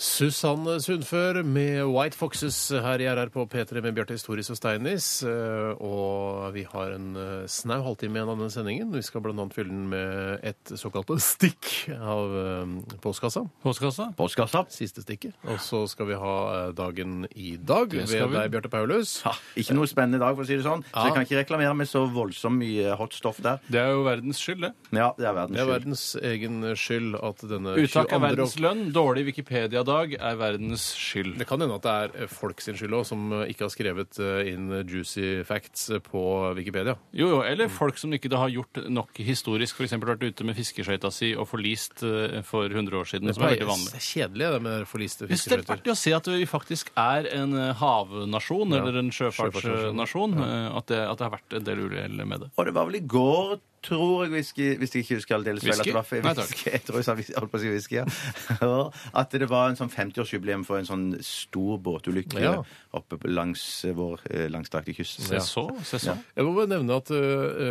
Susanne Sundfør med White Foxes her i RR på P3 med Bjarte Historis og Steinis. Eh, Og vi har en eh, snau halvtime igjen av denne sendingen. Vi skal bl.a. fylle den med et såkalt stikk av eh, postkassa.
Postkassa?
Postkassa.
Siste stikket. Og så skal vi ha eh, dagen i dag ved
skal vi.
deg, Bjarte Paulus.
Ja, ikke noe spennende dag, for å si det sånn. Så jeg kan ikke reklamere med så voldsomt mye hot stoff der.
Det er jo verdens skyld, det.
Men ja, det er verdens
Det er
skyld.
verdens egen skyld at denne
Uttak av
22.
verdens lønn, dårlig Wikipedia-dag er verdens skyld.
Det kan hende at det er eh, folk sin skyld òg, som eh, ikke har skrevet eh, inn juicy facts eh, på Wikipedia.
Jo, jo, eller folk som ikke da har gjort nok historisk, f.eks. vært ute med fiskeskøyta si og forlist eh, for 100 år siden, som er veldig
Det
vanlig.
er kjedelig, det med forliste
Jeg synes Det er
fiskeskøyter.
artig å se at vi faktisk er en eh, havnasjon, eller en
sjøfartsnasjon.
sjøfartsnasjon. eh, At, det, at det har vært en del uhell med det.
Og det var vel i går, tror jeg whisky, hvis jeg ikke husker aldeles feil at det var
Whisky? Nei, takk.
whisky. Jeg tror jeg sa whisky- holdt på å si whisky, ja. Og At det var en sånn 50-årsjubileum for en sånn stor båtulykke
Ja.
oppe på- langs eh, vår eh, langstrakte kyst.
Se så, se så.
Jeg må bare nevne at øh,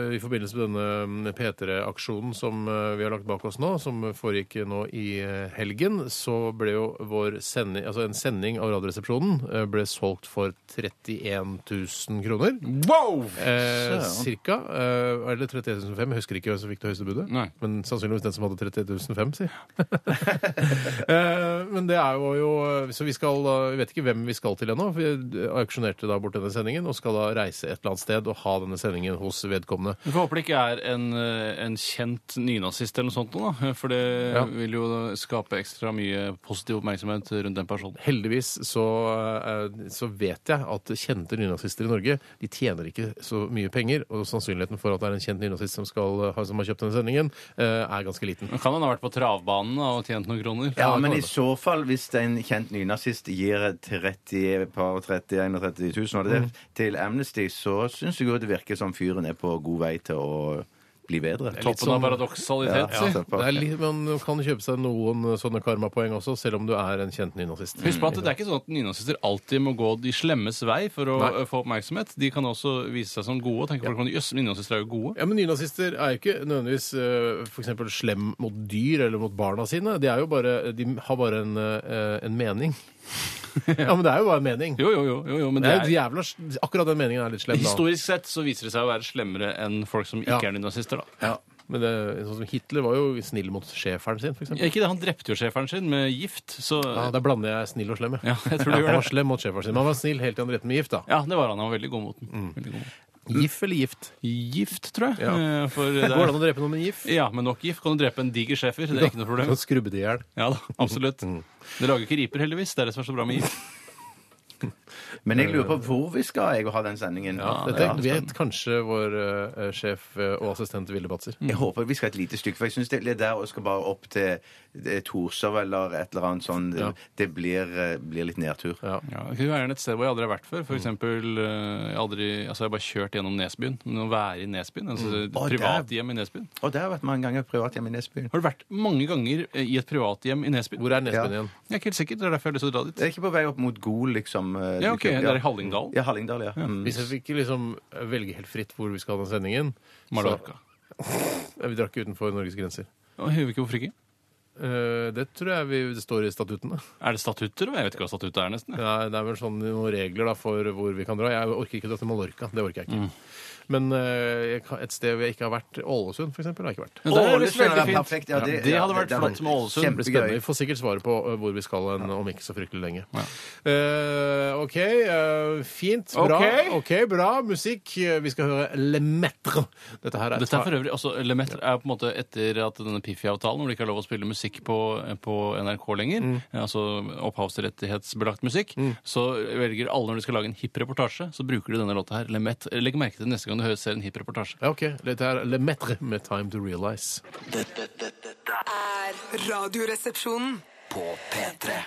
øh, i forbindelse med denne øh, P3-aksjonen som øh, vi har lagt bak oss nå, som foregikk nå i øh, helgen, så ble jo vår sending, altså en sending av Radioresepsjonen øh, ble solgt for 31 000 kroner.
Wow!
Eh,
Søren.
cirka. Eh, eller 31 500. Jeg husker ikke hvem som fikk det høyeste budet.
Nei.
Men sannsynligvis den som hadde 31 500, si. eh, men det er jo, jo Så vi skal da Vi vet ikke hvem vi skal til ennå. for Vi auksjonerte da bort denne sendingen og skal da reise et eller annet sted og ha denne sendingen hos vedkommende.
Vi får håpe det ikke er en, eh, en kjent nynazist eller noe sånt, nå, da. for det
Ja.
vil jo skape ekstra mye positiv oppmerksomhet rundt den personen.
Heldigvis så, eh, så vet jeg at kjente nynazister i Norge de tjener ikke så mye penger, og sannsynligheten for at det er en kjent nynazist som, skal, eh, ha- som har kjøpt denne sendingen, eh, er ganske liten.
Men kan han ha vært på travbanen da, og tjent noen kroner?
Ja,
det
men
kan
i
det.
så fall, hvis en kjent nynazist gir 30, par 30, 31 000 var det det, til Amnesty, så syns jeg jo det virker som fyren er på god vei til å bli bedre.
Toppen av paradoksalitet,
Ja,
si.
altså.
Det er litt, man kan kjøpe seg noen eh, sånne karmapoeng også, selv om du er en kjent nynazist.
Husk på at det er ikke sånn at nynazister alltid må gå de slemmes vei for å
Nei.
eh, få oppmerksomhet. De kan også vise seg som gode. Tenk på hvordan jøss, nynazister er jo gode.
Ja, men Nynazister er jo ikke nødvendigvis eh, for eksempel slem mot dyr eller mot barna sine. De, er jo bare, de har bare en, eh, en mening. Ja, men det er jo bare en mening.
Jo, jo, jo, jo, jo men
Det
det
er jo
er,
jævla, akkurat den meningen er litt slem, da.
historisk sett så viser det seg å være slemmere enn folk som ikke
Ja.
er nynazister, da.
Ja. Men det, sånn som Hitler var jo snill mot schæferen sin, for
Ja,
eksempel.
ikke det, han drepte jo sjeferen sin med gift, så
Ja, der blander jeg snill og slem,
Ja, jeg tror du
Ja,
gjør det.
han var slem mot schæferen sin. Men han var snill helt til han drepte med gift, da.
Ja, det var han. Han var veldig god mot den.
Mm.
Veldig god mot den.
Gif eller gift?
Gift, tror jeg.
Ja.
eh, For det
Går det
er,
an å drepe noen med gif?
ja, med nok gift kan du drepe en diger schæfer. Det er ikke noe problem.
Sånn skrubbe det i hjel.
Ja da, absolutt.
Mm.
Det lager ikke riper, heldigvis. Det er det som er så bra med gift.
Men jeg lurer på hvor vi skal jeg, og ha den sendingen.
Dette vet kanskje vår eh, sjef eh, og assistent Ville Batzer.
Mm.
Jeg håper vi skal et lite stykke, for jeg syns det det der og skal bare opp til eh, Torshov eller et eller annet sånn
Ja.
Det blir, eh, blir litt nedtur.
Ja, det kunne være gjerne et sted hvor jeg aldri har vært før. For eksempel, eh, jeg har aldri, altså jeg har bare kjørt gjennom Nesbyen. Men å være i Nesbyen, altså et
Å,
privat
der.
hjem i Nesbyen
Og det har vært mange ganger privathjem i Nesbyen.
Har du vært mange ganger eh, i et privat hjem i Nesbyen?
Hvor er Nesbyen
Ja.
igjen?
Jeg er ikke helt sikker, det er derfor jeg har lyst til å dra dit.
Det er ikke på vei opp mot Gol, liksom. eh,
Ja, ok,
like-
det er i Hallingdal.
Ja, Hallingdal, ja. Mm.
Hvis jeg fikk liksom velge helt fritt hvor vi skal ha den sendingen
Mallorca.
så- Vi drakk utenfor Norges grenser.
Og jeg vet ikke hvorfor ikke.
Eh, det tror jeg vi, det står i statuttene.
Er det statutter? Jeg vet ikke hva statutter er, nesten. jeg.
Det er, det er vel sånn noen regler da, for hvor vi kan dra. Jeg orker ikke dra til Mallorca. Det orker jeg ikke. Men eh, jeg kan- et sted hvor jeg ikke har vært, Ålesund f.eks., har jeg ikke vært.
Men der er det
Ålesund
veldig
er
fint.
perfekt, ja, det-
det
ja,
hadde vært
det- det-
flott med Ålesund.
Det blir spennende. Vi får sikkert svaret på eh, hvor vi skal en, om ikke så fryktelig lenge. Eh, OK. eh, fint. Bra.
Ok.
ok, bra musikk. Eh, Vi skal høre Le Metre. Dette her er
Dette er for øvrig, altså Lemaitre er på en måte etter at denne Piffi-avtalen, hvor det ikke er lov å spille musikk på, på NRK lenger,
Mm.
altså opphavsrettighetsbelagt musikk, så velger alle når de skal lage en hipp reportasje, så bruker de denne låta her. Lemaitre. Legg merke til det neste gang du hører- ser en hipp reportasje.
Ja, ok. Dette er Le Metre med Time to Realize.
Dette, dette, dette
er Radioresepsjonen.
på P3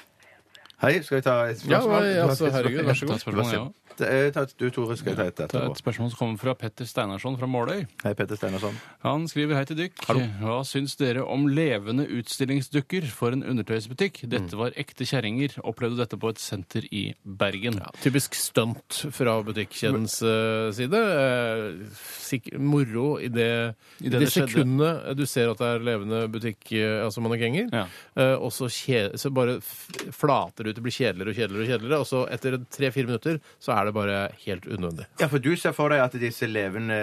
Hei, skal vi ta et
Ja,
spørsmål?
nei, altså, herregud, vær
Ta
så god.
et spørsmål, ja.
Eh, Ta et, du, Tore, skal jeg ta et
Det er
etterpå.
et spørsmål som kommer fra Petter Steinarsson fra Måløy.
Hei, Petter Stenersson.
Han skriver hei til dykk. Hva syns dere om levende utstillingsdukker for en undertøysbutikk?
Mm.
Dette var ekte kjerringer. Opplevde dette på et senter i Bergen.
Typisk stunt fra butikkjedens eh, side. Eh, sikk- moro i det,
I
i
det
det,
det skjedde.
sekundet du ser at det er levende butikk, eh, altså mannekenger.
Ja.
Eh, og så, kje, så bare f- flater det ut, det blir kjedeligere og kjedeligere. Og kjedeligere, og så etter tre-fire minutter så er det bare helt unødvendig.
Ja, for du ser for deg at disse levende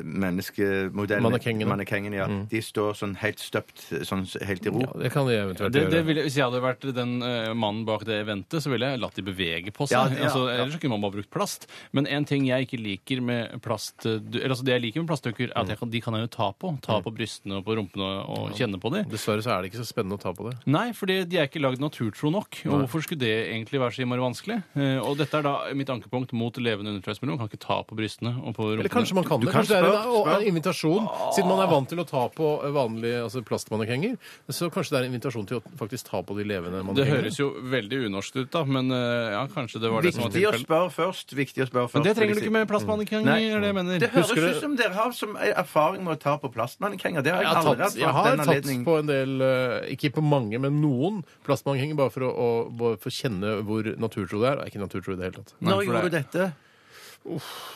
eh, menneskemodellene
Mannekengene.
mannekengene, ja, De står sånn helt støpt, sånn s- helt i ro.
Ja, det kan de eventuelt
Det, det
gjøre.
ville, hvis jeg hadde vært den eh, mannen bak det eventet, så ville jeg latt de bevege på seg.
Ja, ja,
altså,
ja.
ellers så kunne man bare brukt plast. Men en ting jeg ikke liker med plast du- eller, altså, Det jeg liker med plastdukker, er at
Mm.
jeg kan, de kan jeg jo ta på. Ta på brystene og på rumpene og kjenne på de.
Dessverre så er det ikke så spennende å ta på det.
Nei, fordi de er ikke lagd naturtro nok. Og hvorfor skulle det egentlig være så innmari vanskelig? Eh, Og dette er da mitt ankepunkt mot levende undertøysmelodi. Man kan ikke ta på brystene og på rumpene.
Eller kanskje man kan det.
kan
Kanskje det er en,
spørre- spørre.
en invitasjon. Siden man er vant til å ta på vanlige altså plastmannekenger, så kanskje det er en invitasjon til å faktisk ta på de levende
Det
mannekengene.
høres jo veldig unorsk ut, da, men eh, ja, kanskje det var det som var
Viktig å
tilfellet.
spørre først. Viktig å spørre først
Men det trenger du
vil jeg
ikke med plastmannekeng,
Nei.
er det jeg mener.
si. Det høres
Husker
ut
du-
som dere har som erfaring med å ta på plastmannekringer. Det har
Jeg
jeg
har
aldri
tatt,
hatt
jeg har
den
tatt
anledning.
på en del, eh, ikke på mange, men noen plastmannkenger, bare for å, å, bare for å kjenne hvor naturtro det er. Det er ikke naturtro i det hele tatt.
Nei,
Når
for
gjorde
det-
du dette?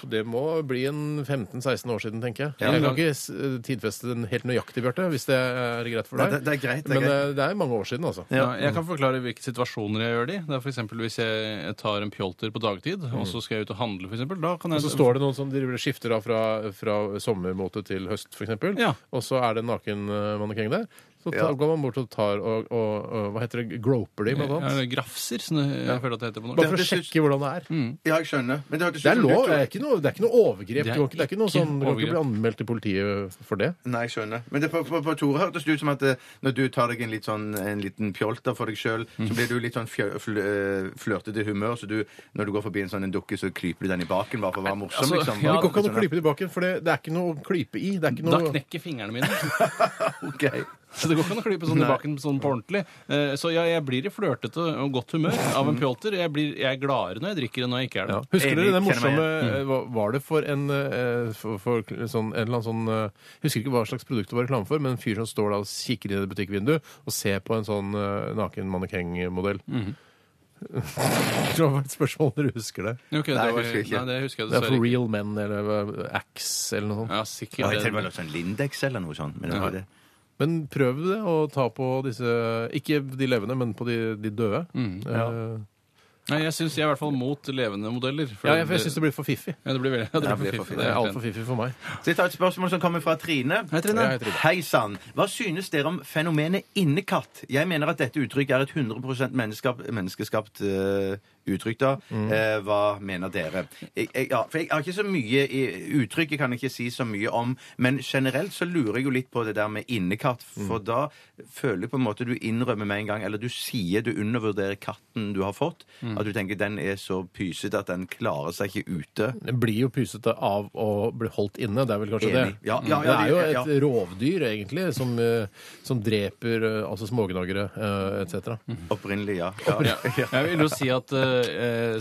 Det må bli en 15-16 år siden, tenker jeg.
Ja.
jeg kan ikke s- eh, tidfeste den helt nøyaktig, Bjarte, hvis det er greit for
Nei,
deg.
det- det er greit, det er
Men
greit.
eh, det er mange år siden, altså.
Ja, jeg kan forklare hvilke situasjoner jeg gjør de. Det er for eksempel Hvis jeg tar en pjolter på dagtid, og så skal jeg ut og handle, for eksempel, da kan jeg
Mm. Så står det noen som driver og skifter da fra, fra sommermåte til høst, f.eks.
Ja.
Og så er det en naken eh, mannekeng der. Så ta,
Ja.
går man bort og tar og, og, og Hva heter det? Groper de, blant
Ja,
annet?
eller grafser, som det- jeg føler at det heter på norsk.
Bare for å
det syns-
sjekke hvordan det er.
Ja, jeg skjønner. Men det, hørtes
Det
ut
er
som du
lov.
ikke-
Det er ikke noe, det er ikke noe overgrep.
Det
Det,
er
går ikke, det er ikke noe
ikke
sånn, Du kan ikke bli
overgrep.
anmeldt til politiet for det.
Nei, jeg skjønner. Men det, på, på, på Tore hørtes det ut som at eh, når du tar deg en, litt sånn, en liten pjolter for deg sjøl,
Mm.
så blir du litt sånn fjø, fl, eh, flørtete humør, så du, når du går forbi en sånn en dukke, så kryper du den i baken bare for å være morsom,
Altså,
liksom.
ja,
det går ikke an å
Sånn,
klype tilbake, for det, det er ikke noe å klype i. Det er ikke
Da
noe
knekker fingrene mine.
ok.
Så det går ikke an å klype sånn i baken sånn på ordentlig. Eh, Så ja, jeg blir i flørtete og godt humør av en pjolter. Jeg, blir, jeg er gladere når jeg drikker enn når jeg ikke er det.
Mm. Ja. Husker
Enig,
dere den
kjenner meg
morsomme eh, hva- Var det for en eh, for, for sånn, en eller annen sånn eh, Jeg husker ikke hva slags produkt det var reklame for, men en fyr som står da og kikker inn i et butikkvindu og ser på en sånn eh, naken mannekengmodell. det var bare et spørsmål om dere husker det.
Ok, det
Nei, jeg
var-
husker ikke.
Nei, det husker jeg
Det er for
dessverre ikke.
real men eller hva- axe eller noe sånt.
Ja,
Ja, jeg tenkte det var
sikkert.
noe sånn Lindex eller noe sånt. Men det var det.
Men prøv det å ta på disse Ikke de levende, men på de, de døde. Eh,
Nei, jeg syns jeg er i hvert fall mot levende modeller.
ja, jeg, jeg syns det blir for fiffig.
ja, det blir veldig ja, det
det
blir
blir
for
for
fiffig.
Det
Det er
er
helt enig.
altfor fiffig for meg.
Så jeg tar et spørsmål som kommer fra Trine.
Hei, Trine.
Ja, hei, Trine.
Hei sann. Hva synes dere om fenomenet innekatt? Jeg mener at dette uttrykket er et 100 menneskap, menneskeskapt eh, uttrykk. da.
Mm.
Eh, hva mener dere? Jeg, jeg, ja, for jeg har ikke så mye i, Uttrykket kan jeg ikke si så mye om, men generelt så lurer jeg jo litt på det der med innekatt.
Mm.
For da føler jeg på en måte du innrømmer med en gang, eller du sier du undervurderer katten du har fått.
Mm.
At du tenker den er så pysete at den klarer seg ikke ute.
Det blir jo pysete av å bli holdt inne, det er vel kanskje
Enig.
det.
Ja, ja,
det
ja,
er jo
det-
et rovdyr, egentlig, som, eh, som dreper eh, altså smågnagere eh, etc.
Mhm.
Opprinnelig, ja. ja.
Ja. Jeg vil jo si at eh,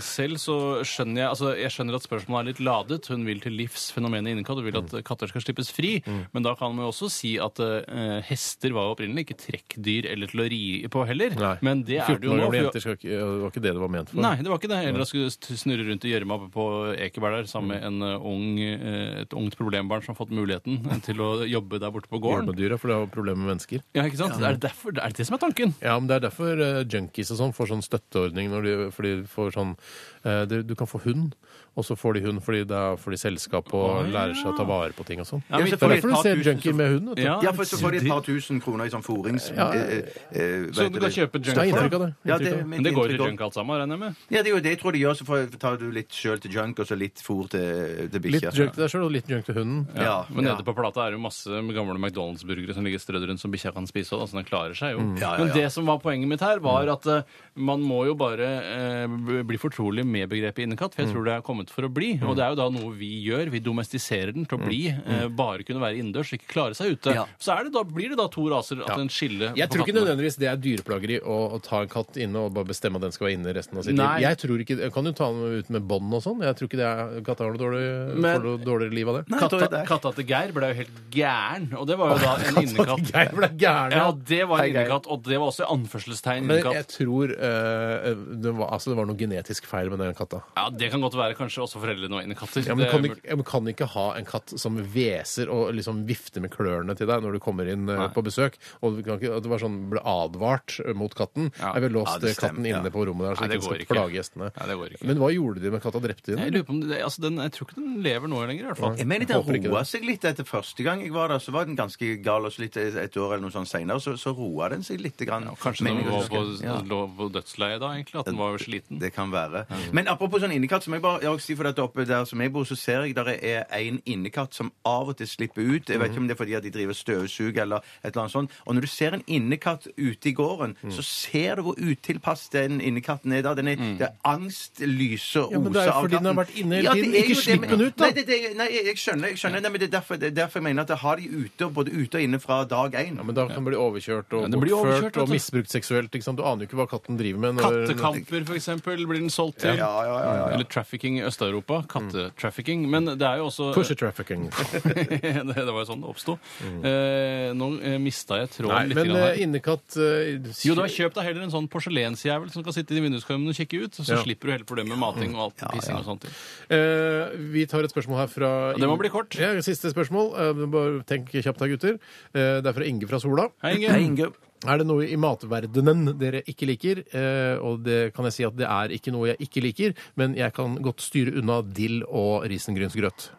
selv så skjønner jeg altså jeg skjønner at spørsmålet er litt ladet. Hun vil til livs fenomenet innekatt. Hun vil at katter skal slippes fri. Men da kan man jo også si at eh, hester var jo opprinnelig ikke trekkdyr eller til å ri på heller. Men det er det jo
14 år
nå.
gamle
for-
jenter skal ikke, eh, det var ikke det det var ment for.
Nei, det var ikke det. Eller jeg skulle st- snurre rundt i gjørma oppe på Ekeberg der sammen med en eh, ung, eh, et ungt problembarn som har fått muligheten til å jobbe der borte på
Gjør
gården.
med dyra, for det var problemer med mennesker.
Ja, ikke sant? Er, det derfor, er det det som er tanken?
Ja, men Det er derfor eh, junkies og sånn får sånn støtteordning. Når de, for de får sånn, eh, du, du kan få hund, og så får de hund fordi det er fordi selskap
Å,
og
ja.
lærer seg å ta vare på ting og sånn.
men
det
så får
er derfor
de et
du
par
ser
tusen
junkier
som-
med hund. vet du.
Ja, for så får de et par tusen kroner i sånn forings...
Ja,
eh, eh, eh,
Så
vet
du kan kjøpe junk
Så det
for
er inntrykk
det?
av det. Inntrykk
Ja,
av det.
mitt
Men det går jo
inntrykk
til
også.
junk alt sammen, regner jeg med?
Ja, det er jo det jeg tror de gjør, så får, tar du litt sjøl til junk, og så litt fôr til, til
Litt
bikkja.
junk til deg sjøl og litt junk til hunden.
Ja, ja.
Men nede på plata er det jo masse gamle McDonald's-burgere som ligger strødd rundt som bikkja kan spise òg, så den klarer seg jo.
Mm. Ja, ja, Mm. ja.
Men det som var poenget mitt her, var at eh, man må jo bare eh, bli fortrolig med begrepet innekatt,
Mm.
for jeg tror det er kommet for å bli. Og det er jo da noe vi gjør. Vi domestiserer den til å bli eh, bare kunne være innendørs, ikke klare seg ute.
Mm. Ja.
Så er det da, blir det da to raser at en skille
Jeg
på
tror ikke
kattene.
nødvendigvis det er dyreplageri å, å ta en katt inne og bare bestemme at den skal være inne resten av sitt
Nei.
liv. Jeg tror ikke, jeg kan jo ta den ut med bånd og sånn. Jeg tror ikke det er, katta har noe dårlig,
Men-
får noe dårligere liv av det.
Nei, jeg tror det
Katta,
er-
katta til Geir ble jo helt gæren, og det var jo da en innekatt.
Geir ble gæren.
Ja,
ja.
det var
Hei,
en
Geir.
innekatt, og det var også i anførselstegn
Men jeg
innekatt.
tror eh, det, var, altså, det var noe genetisk feil med den katta.
Ja, Det kan godt være kanskje også foreldrene var innekatter.
Ja, men
Det er
kan,
mulig.
du, ikke- ja, men kan du ikke ha en katt som hveser og liksom vifter med klørne til deg når du kommer inn eh, på besøk? Og du kan ikke, at det var sånn, ble advart eh, mot katten.
Ja.
Jeg ville låst
Ja,
eh,
det
katten
stemmer, ja.
inne på rommet der, så
Nei,
ikke
det
den
går
skal
ikke.
plage gjestene.
Nei, det går ikke.
Men hva gjorde de med katta? Drepte
Jeg
de den?
lurer på om det, altså den, jeg tror ikke den lever nå lenger, i hvert fall.
Jeg mener
Håper
den
ikke
roa
det.
seg litt etter første gang jeg var der. Så var den ganske gal, og så litt et år eller noe sånt senere, så, så roa den seg litt. Grann,
Kanskje
Men
den
jeg
var på,
husker- ja.
lå på dødsleiet da, egentlig. At den var sliten 19.
Det kan være. Men apropos sånn innekatt, som jeg bare jeg vil si for dette oppe der som jeg bor, så ser jeg der er en innekatt som av og til slipper ut. Jeg vet ikke om det er fordi at de driver støvsug eller et eller annet sånt. Og når du ser en innekatt ute i gården, så ser du hvor utilpass den innekatten er da. Den er, Det er angst, lyse og
Ja, men det er
ose av
fordi den har
katten.
vært inne hele tiden.
det er
Ikke
jo det,
slipp
men-
den ut, da.
Nei, det, det, nei jeg skjønner. Jeg skjønner. Nei, men det er derfor, det er derfor jeg mener at jeg har de ute, både ute og inne fra dag én.
Ja, men da kan den bli overkjørt og
Ja, den blir
bortført
overkjørt, vet
og
du.
misbrukt seksuelt. Ikke sant? Du aner jo ikke hva katten driver med. når-
Kattekamper, for eksempel, blir den solgt til.
Ja, ja, ja, ja.
Eller trafficking i Øst-Europa. Kattetrafficking. Men det er jo også
Pussy trafficking.
det, det var jo sånn det oppsto. Eh, nå eh, mista jeg tråden
Mm. Nei,
litt.
men
grann her.
eh, innekatt eh,
Jo, da kjøp deg heller en sånn porselensjævel som kan sitte i vinduskarmen og kikke ut, så
Ja.
slipper du hele problemet med mating og alt pissing og sånt.
Eh, vi tar et spørsmål her fra
Ja, det må bli kort.
Ja, siste spørsmål. Eh, bare tenk kjapt her, gutter. Eh, det er fra Inge fra Sola.
Hei, Inge.
Er det noe i matverdenen dere ikke liker? Eh, og det kan jeg si at det er ikke noe jeg ikke liker, men jeg kan godt styre unna dill og risengrynsgrøt.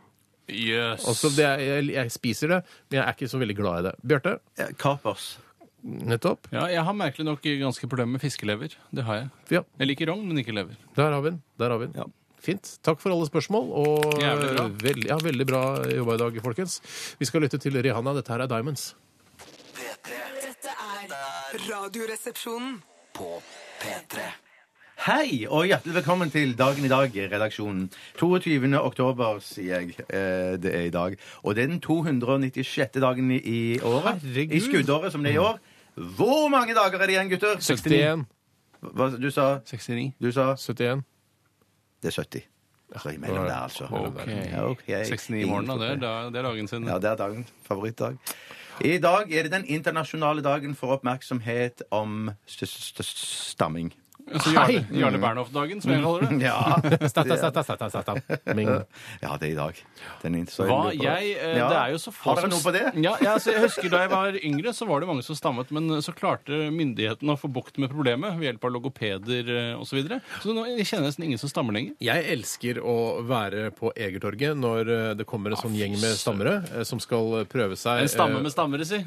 Jøss.
Altså, det er, jeg, jeg spiser det, men jeg er ikke så veldig glad i det. Bjarte,
Ja, Kapers.
nettopp.
Ja, jeg har merkelig nok ganske problemer med fiskelever. Det har jeg.
Ja,
Jeg liker rogn, men ikke lever.
der har vi den. Der har vi den. Fint. Takk for alle spørsmål. Og
Jævlig bra.
Veldig, ja, veldig bra jobba i dag, folkens. Vi skal lytte til Rihanna. Dette her er Diamonds.
Dette er Radioresepsjonen.
På P3
Hei, og hjertelig velkommen til Dagen i dag-redaksjonen. 22. oktober, sier jeg eh, det er i dag. Og det er den 296. dagen i, i året.
Herregud.
I skuddåret, som det er i år. Hvor mange dager er det igjen, gutter?
61.
Hva, du sa
69.
Du sa
71.
Det er 70. Så imellom der, altså.
Ok.
Ja, ok.
69 i morgen, da. Det er, da- det er dagen sin.
Ja, det er dagen. Favorittdag. I dag er det den internasjonale dagen for oppmerksomhet om st st st stamming.
Så Jarle, Jarle Bernhoft-dagen, som jeg kaller det.
Ja,
Satan, satan, satan, satan. Men-
Ja, det er i dag. Den er interessant.
Hva, jeg, eh,
Ja.
det er jo så få
Har dere noe på det?
Ja, ja, altså, jeg husker Da jeg var yngre, så var det mange som stammet, men så klarte myndighetene å få bukt med problemet ved hjelp av logopeder osv. Så, videre. så nå jeg kjenner nesten ingen som stammer lenger.
Jeg elsker å være på Egertorget når eh, det kommer en sånn gjeng med stammere eh, som skal prøve seg
Ah, En stamme
eh,
med stammere, si.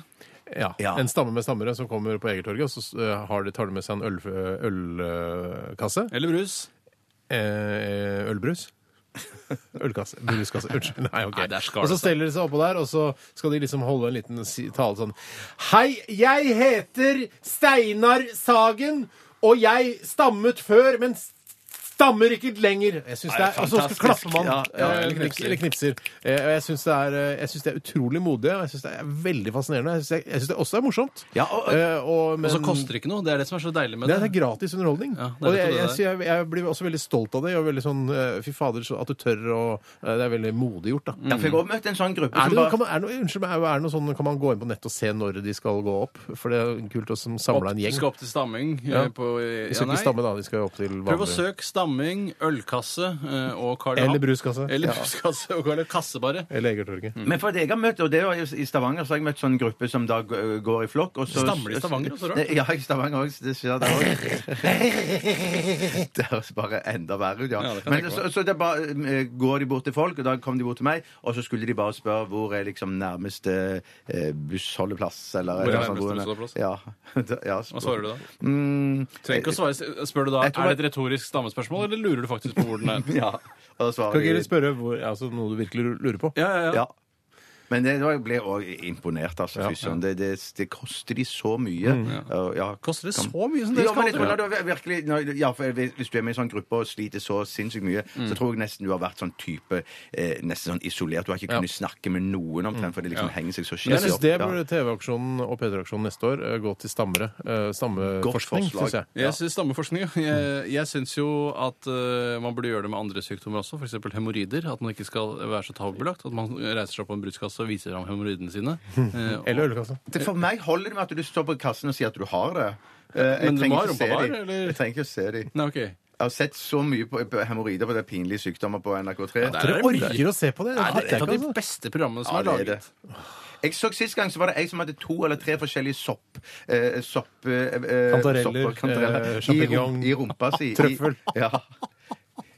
ja,
Ja.
En stamme med stammere som kommer på Egertorget, og så eh, har de, tar de med seg en ølkasse. Øl, eh, kasse.
Eller brus.
eh, ølbrus. Ølkasse. Bruskasse. Unnskyld. Nei, OK.
Nei, der skal
og så
det seg.
steller de seg oppå der, og så skal de liksom holde en liten si- tale sånn Hei, jeg heter Steinar Sagen, og jeg stammet før, men s- stammer ikke lenger. Jeg synes det er, Og så skal-
fantastisk.
klapper man.
Ja, ja,
eh,
eller knipser.
eller knipser. Eh, og Jeg syns det, er, eh, jeg synes det er utrolig modig, og jeg syns det er veldig fascinerende. Jeg syns det, jeg synes det også er morsomt.
Ja, og-
Eh, og, men,
Og så koster det ikke noe. Det er det som er så deilig med
det
det.
er, det er gratis underholdning.
Ja, det er
og
rett
jeg,
og
jeg,
slett
jeg, jeg blir også veldig stolt av det. Og veldig sånn, eh, Fy fader, så at du tør å eh, Det er veldig modig gjort, da.
Mm.
Ja, for jeg har også møtt en sånn gruppe
Er
som
det, noe,
bare
kan man, er det noe, unnskyld meg, er det noe sånn, kan man gå inn på nett og se når de skal gå opp? For det er kult å som
Opp,
samle en gjeng.
skal opp til stamming. eh,
Ja.
På, eh,
De
ja,
skal
nei.
ikke stamme, da. De skal jo opp til
Prøv å
vanlig
søke stamming, ølkasse eh, og Karl Johan.
Eller bruskasse.
Eller Mm.
Ja.
bruskasse og Karl Johan. Kasse, bare.
Eller Egertorget.
Men for at jeg har møtt, og det var jo i Stavanger, så har jeg møtt sånn gruppe som da g- går i flokk. og så-
Stammer de i Stavanger også, da?
Ja, i Stavanger også. Det skjer der også. Det høres bare enda verre ut, ja.
Ja, det kan jeg
Men
tenke
så, så det bare, eh, går de bort til folk, og da kom de bort til meg, og så skulle de bare spørre hvor er liksom nærmeste eh, bussholdeplass, eller
Hvor er
eller sånn,
nærmeste
hvor-
bussholdeplass?
Ja. ja
Hva svarer du da?
Mm,
Trenger ikke å svare. Spør du da
Jeg tror
er det et retorisk stammespørsmål, eller lurer du faktisk på hvor den er?
ja. Og da svarer
Kan ikke
de
dere spørre hvor, altså, noe du virkelig lurer på?
Ja, ja, ja.
Ja. Men det, jeg ble også imponert. altså, fy søren. Det, det, det koster de så mye. Og ja,
Mm. Koster det
kan-
så mye som dere
Ja, men
skal
jeg tror da du er virkelig, når- ja, for hvis hvis du er med i en sånn gruppe og sliter så sinnssykt mye,
Mm.
så tror jeg nesten du har vært sånn type eh, nesten sånn isolert. Du har ikke kunnet snakke med noen
Mm.
omtrent, for det liksom henger seg så
Jeg
skikkelig
syns
opp.
det
Ja.
burde TV-aksjonen og P3-aksjonen neste år eh, gå til stammere. Eh, Stammeforskning,
forslag.
syns jeg.
Jeg synes stammeforskning. ja. Jeg, jeg syns jo at eh, man burde gjøre det med andre sykdommer også, f.eks. hemoroider. At man ikke skal være så tabubelagt. At man reiser seg opp på en bruskasse og viser fram hemoroidene sine. Eh, og-
Eller ølkassa.
Det- For meg holder det med at du står på kassen og sier at du har det. Eh, jeg
Men du må
trenger
ha
ikke se
rumpa bar,
de.
eller?
Jeg trenger ikke å se de.
Nei, ok.
Jeg har sett så mye på, på hemoroider på det pinlige sykdommer på NRK3.
der er
Dere
det mye.
orker å se på det?
Nei,
Det
det er
fatter
et
jeg
av
ikke,
de
altså.
beste programmene som
Ja,
er
det er
laget.
Jeg så Sist gang så var det ei som hadde to eller tre forskjellige sopp. Eh, sopp eh, eh,
Kantareller,
sopper, kantareller
eh,
i rum-
champignon.
I rumpa si. I-
Trøffel.
Ja,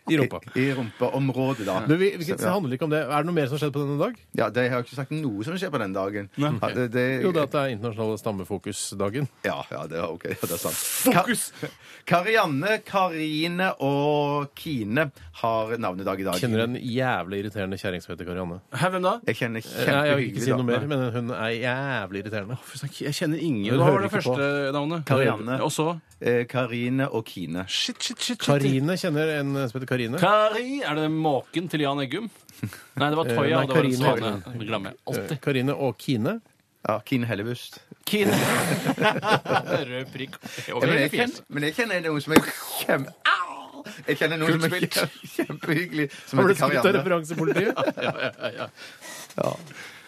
I rumpa.
i, i rumpaområdet, da.
Du, vi, vi, det
Så, ja.
handler ikke om det. Er det noe mer som har skjedd på denne dag?
ja, det har jeg ikke sagt noe som skjer på den dagen. Ja, det, det,
Jo, det er at det er internasjonale stammefokusdagen.
ja, ja, det er ok. Ja, det er sant. Fokus! Karianne, Karine og Kine har navnedag i dag.
Kjenner en jævlig irriterende kjerring som heter Karianne.
Hæ, hvem da?
Jeg kjenner
Eh, Nei, jeg vil ikke si
kjempehyggelig
noe
dame.
mer, men hun er jævlig irriterende.
Fy søren, Jeg kjenner ingen.
Hun
Hva
hører
var det
ikke på.
første navnet?
Karianne.
Og så
Eh, Karine og Kine.
Shit, shit, shit. shit.
Karine kjenner en som heter Karine.
Kari Er det måken til Jan Eggum? Nei, det var
Eh,
Toya.
nei,
og det var en
Karine.
svane. Det glemmer jeg alltid.
Eh, Karine og Kine.
Ja, Kine Hellebust.
Kin. Rød prikk over
Ja, men,
hele
jeg kjenner,
fjeset.
men jeg kjenner noen som er kjem... Au! Jeg kjenner noen som er kjem, kjempehyggelig, som
Har du
heter
skutt av
Karianne.
referansepolitiet?
Ja, ja, ja.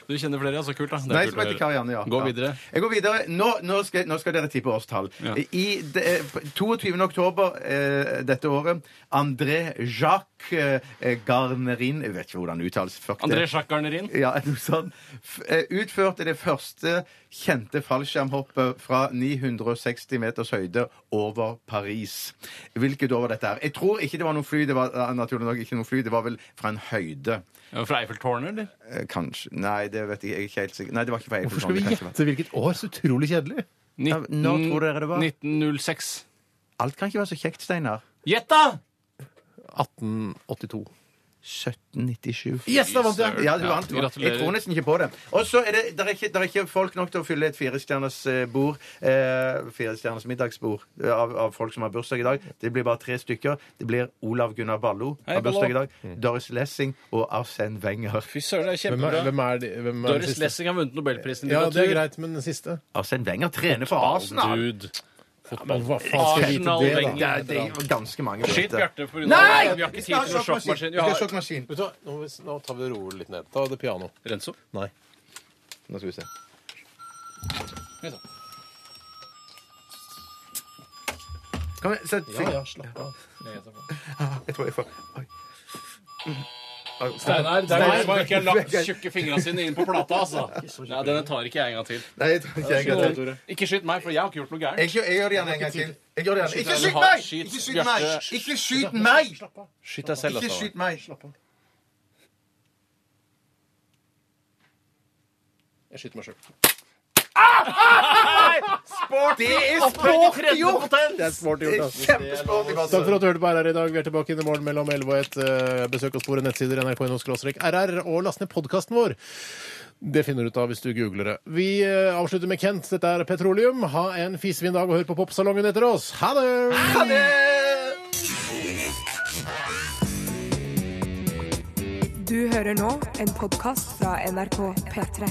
Du kjenner flere, ja. Så kult, da. Det er
Nei,
kult
som
å
heter
høre.
Karianne, ja.
Gå
Ja.
videre.
Jeg går videre. Nå, nå, skal, nå skal dere tippe årstall.
Ja.
I de, på 22. oktober eh, dette året André Jacques eh, Garnerin Jeg vet ikke hvordan det uttales. Fuck det.
André Sjakkarnerin.
Ja, noe sånt. F- eh, Utførte det første kjente fallskjermhoppet fra 960 meters høyde over Paris. Hvilket år var dette her? Jeg tror ikke det var noe fly. Det var eh, naturlig nok ikke noe fly. Det var vel fra en høyde.
Ja, Fra Eiffeltårnet, eller?
Eh, Kanskje Nei, det vet jeg, jeg er ikke helt sikker. Nei, det var ikke fra
Hvorfor skal vi
Eiffeltårnet.
gjette hvilket år? Så utrolig kjedelig.
Ja, når tror dere det var?
1906.
Alt kan ikke være så kjekt, Steinar.
Gjett, da!
1882.
1797.
Yes, da vant jeg!
Søren.
Ja, du vant.
Ja, gratulerer.
Jeg tror nesten ikke på det. Og så er det der er, ikke, der er ikke folk nok til å fylle et firestjerners eh, bord. Eh, firestjerners middagsbord eh, av, av folk som har bursdag i dag. Det blir bare tre stykker. Det blir Olav Gunnar Ballo
Hei,
har bursdag i
Ballo.
dag. Doris Lessing og Arsène Wenger.
Fy søren, det er
Hvem er,
kjempebra.
hvem er, de, hvem er den
Doris
siste?
Lessing har vunnet Nobelprisen i
Ja, det er
litteratur.
greit, men den siste?
Arsène Wenger trener for Arsenal!
Dude.
Men hva faen skal jeg vite
Arsenal
det,
Wenger.
da?
Det er, det er jo ganske mange.
Skyt Bjarte for unna.
Nei!
Vi har ikke tid til noen sjokkmaskin. Vi har
sjokkmaskin.
Vet du hva, Nå, nå tar vi det rolig litt ned. Ta det piano.
Renzo.
Nei.
Nå skal vi se. Kom igjen, sett
Ja, ja, slapp av.
Jeg tror jeg får Oi.
Steinar, det er du som ikke har lagt tjukke fingrene sine inn på plata, altså. Nei, denne tar ikke jeg en gang til.
Nei, jeg tror ikke jeg gjør det.
Ikke skyt meg, for jeg har ikke gjort noe gærent.
Jeg, gjør- jeg gjør det gjerne en gang til. Jeg gjør det gjerne. Ikke
Skyt
skyt
meg!
meg!
Skyt,
Ikke skyt meg!
Bjarte.
Ikke skyt meg!
Skyt deg selv,
Ikke
altså.
skyt meg!
Jeg skyter meg sjøl.
Det er sporty gjort!
Det er smart
Det
gjort,
er
altså.
Kjempesporty. altså.
Takk for at du hørte på RR i dag. Vi er tilbake i morgen mellom 11 og 1. Eh, Besøk oss på våre nettsider nrk.no-rr, og last ned podkasten vår. Det finner du ut av hvis du googler det. Vi eh, avslutter med Kent. Dette er Petroleum. Ha en fisefin dag og hør på Popsalongen etter oss. Ha det!
Ha det!
Du hører nå en podkast fra NRK P3.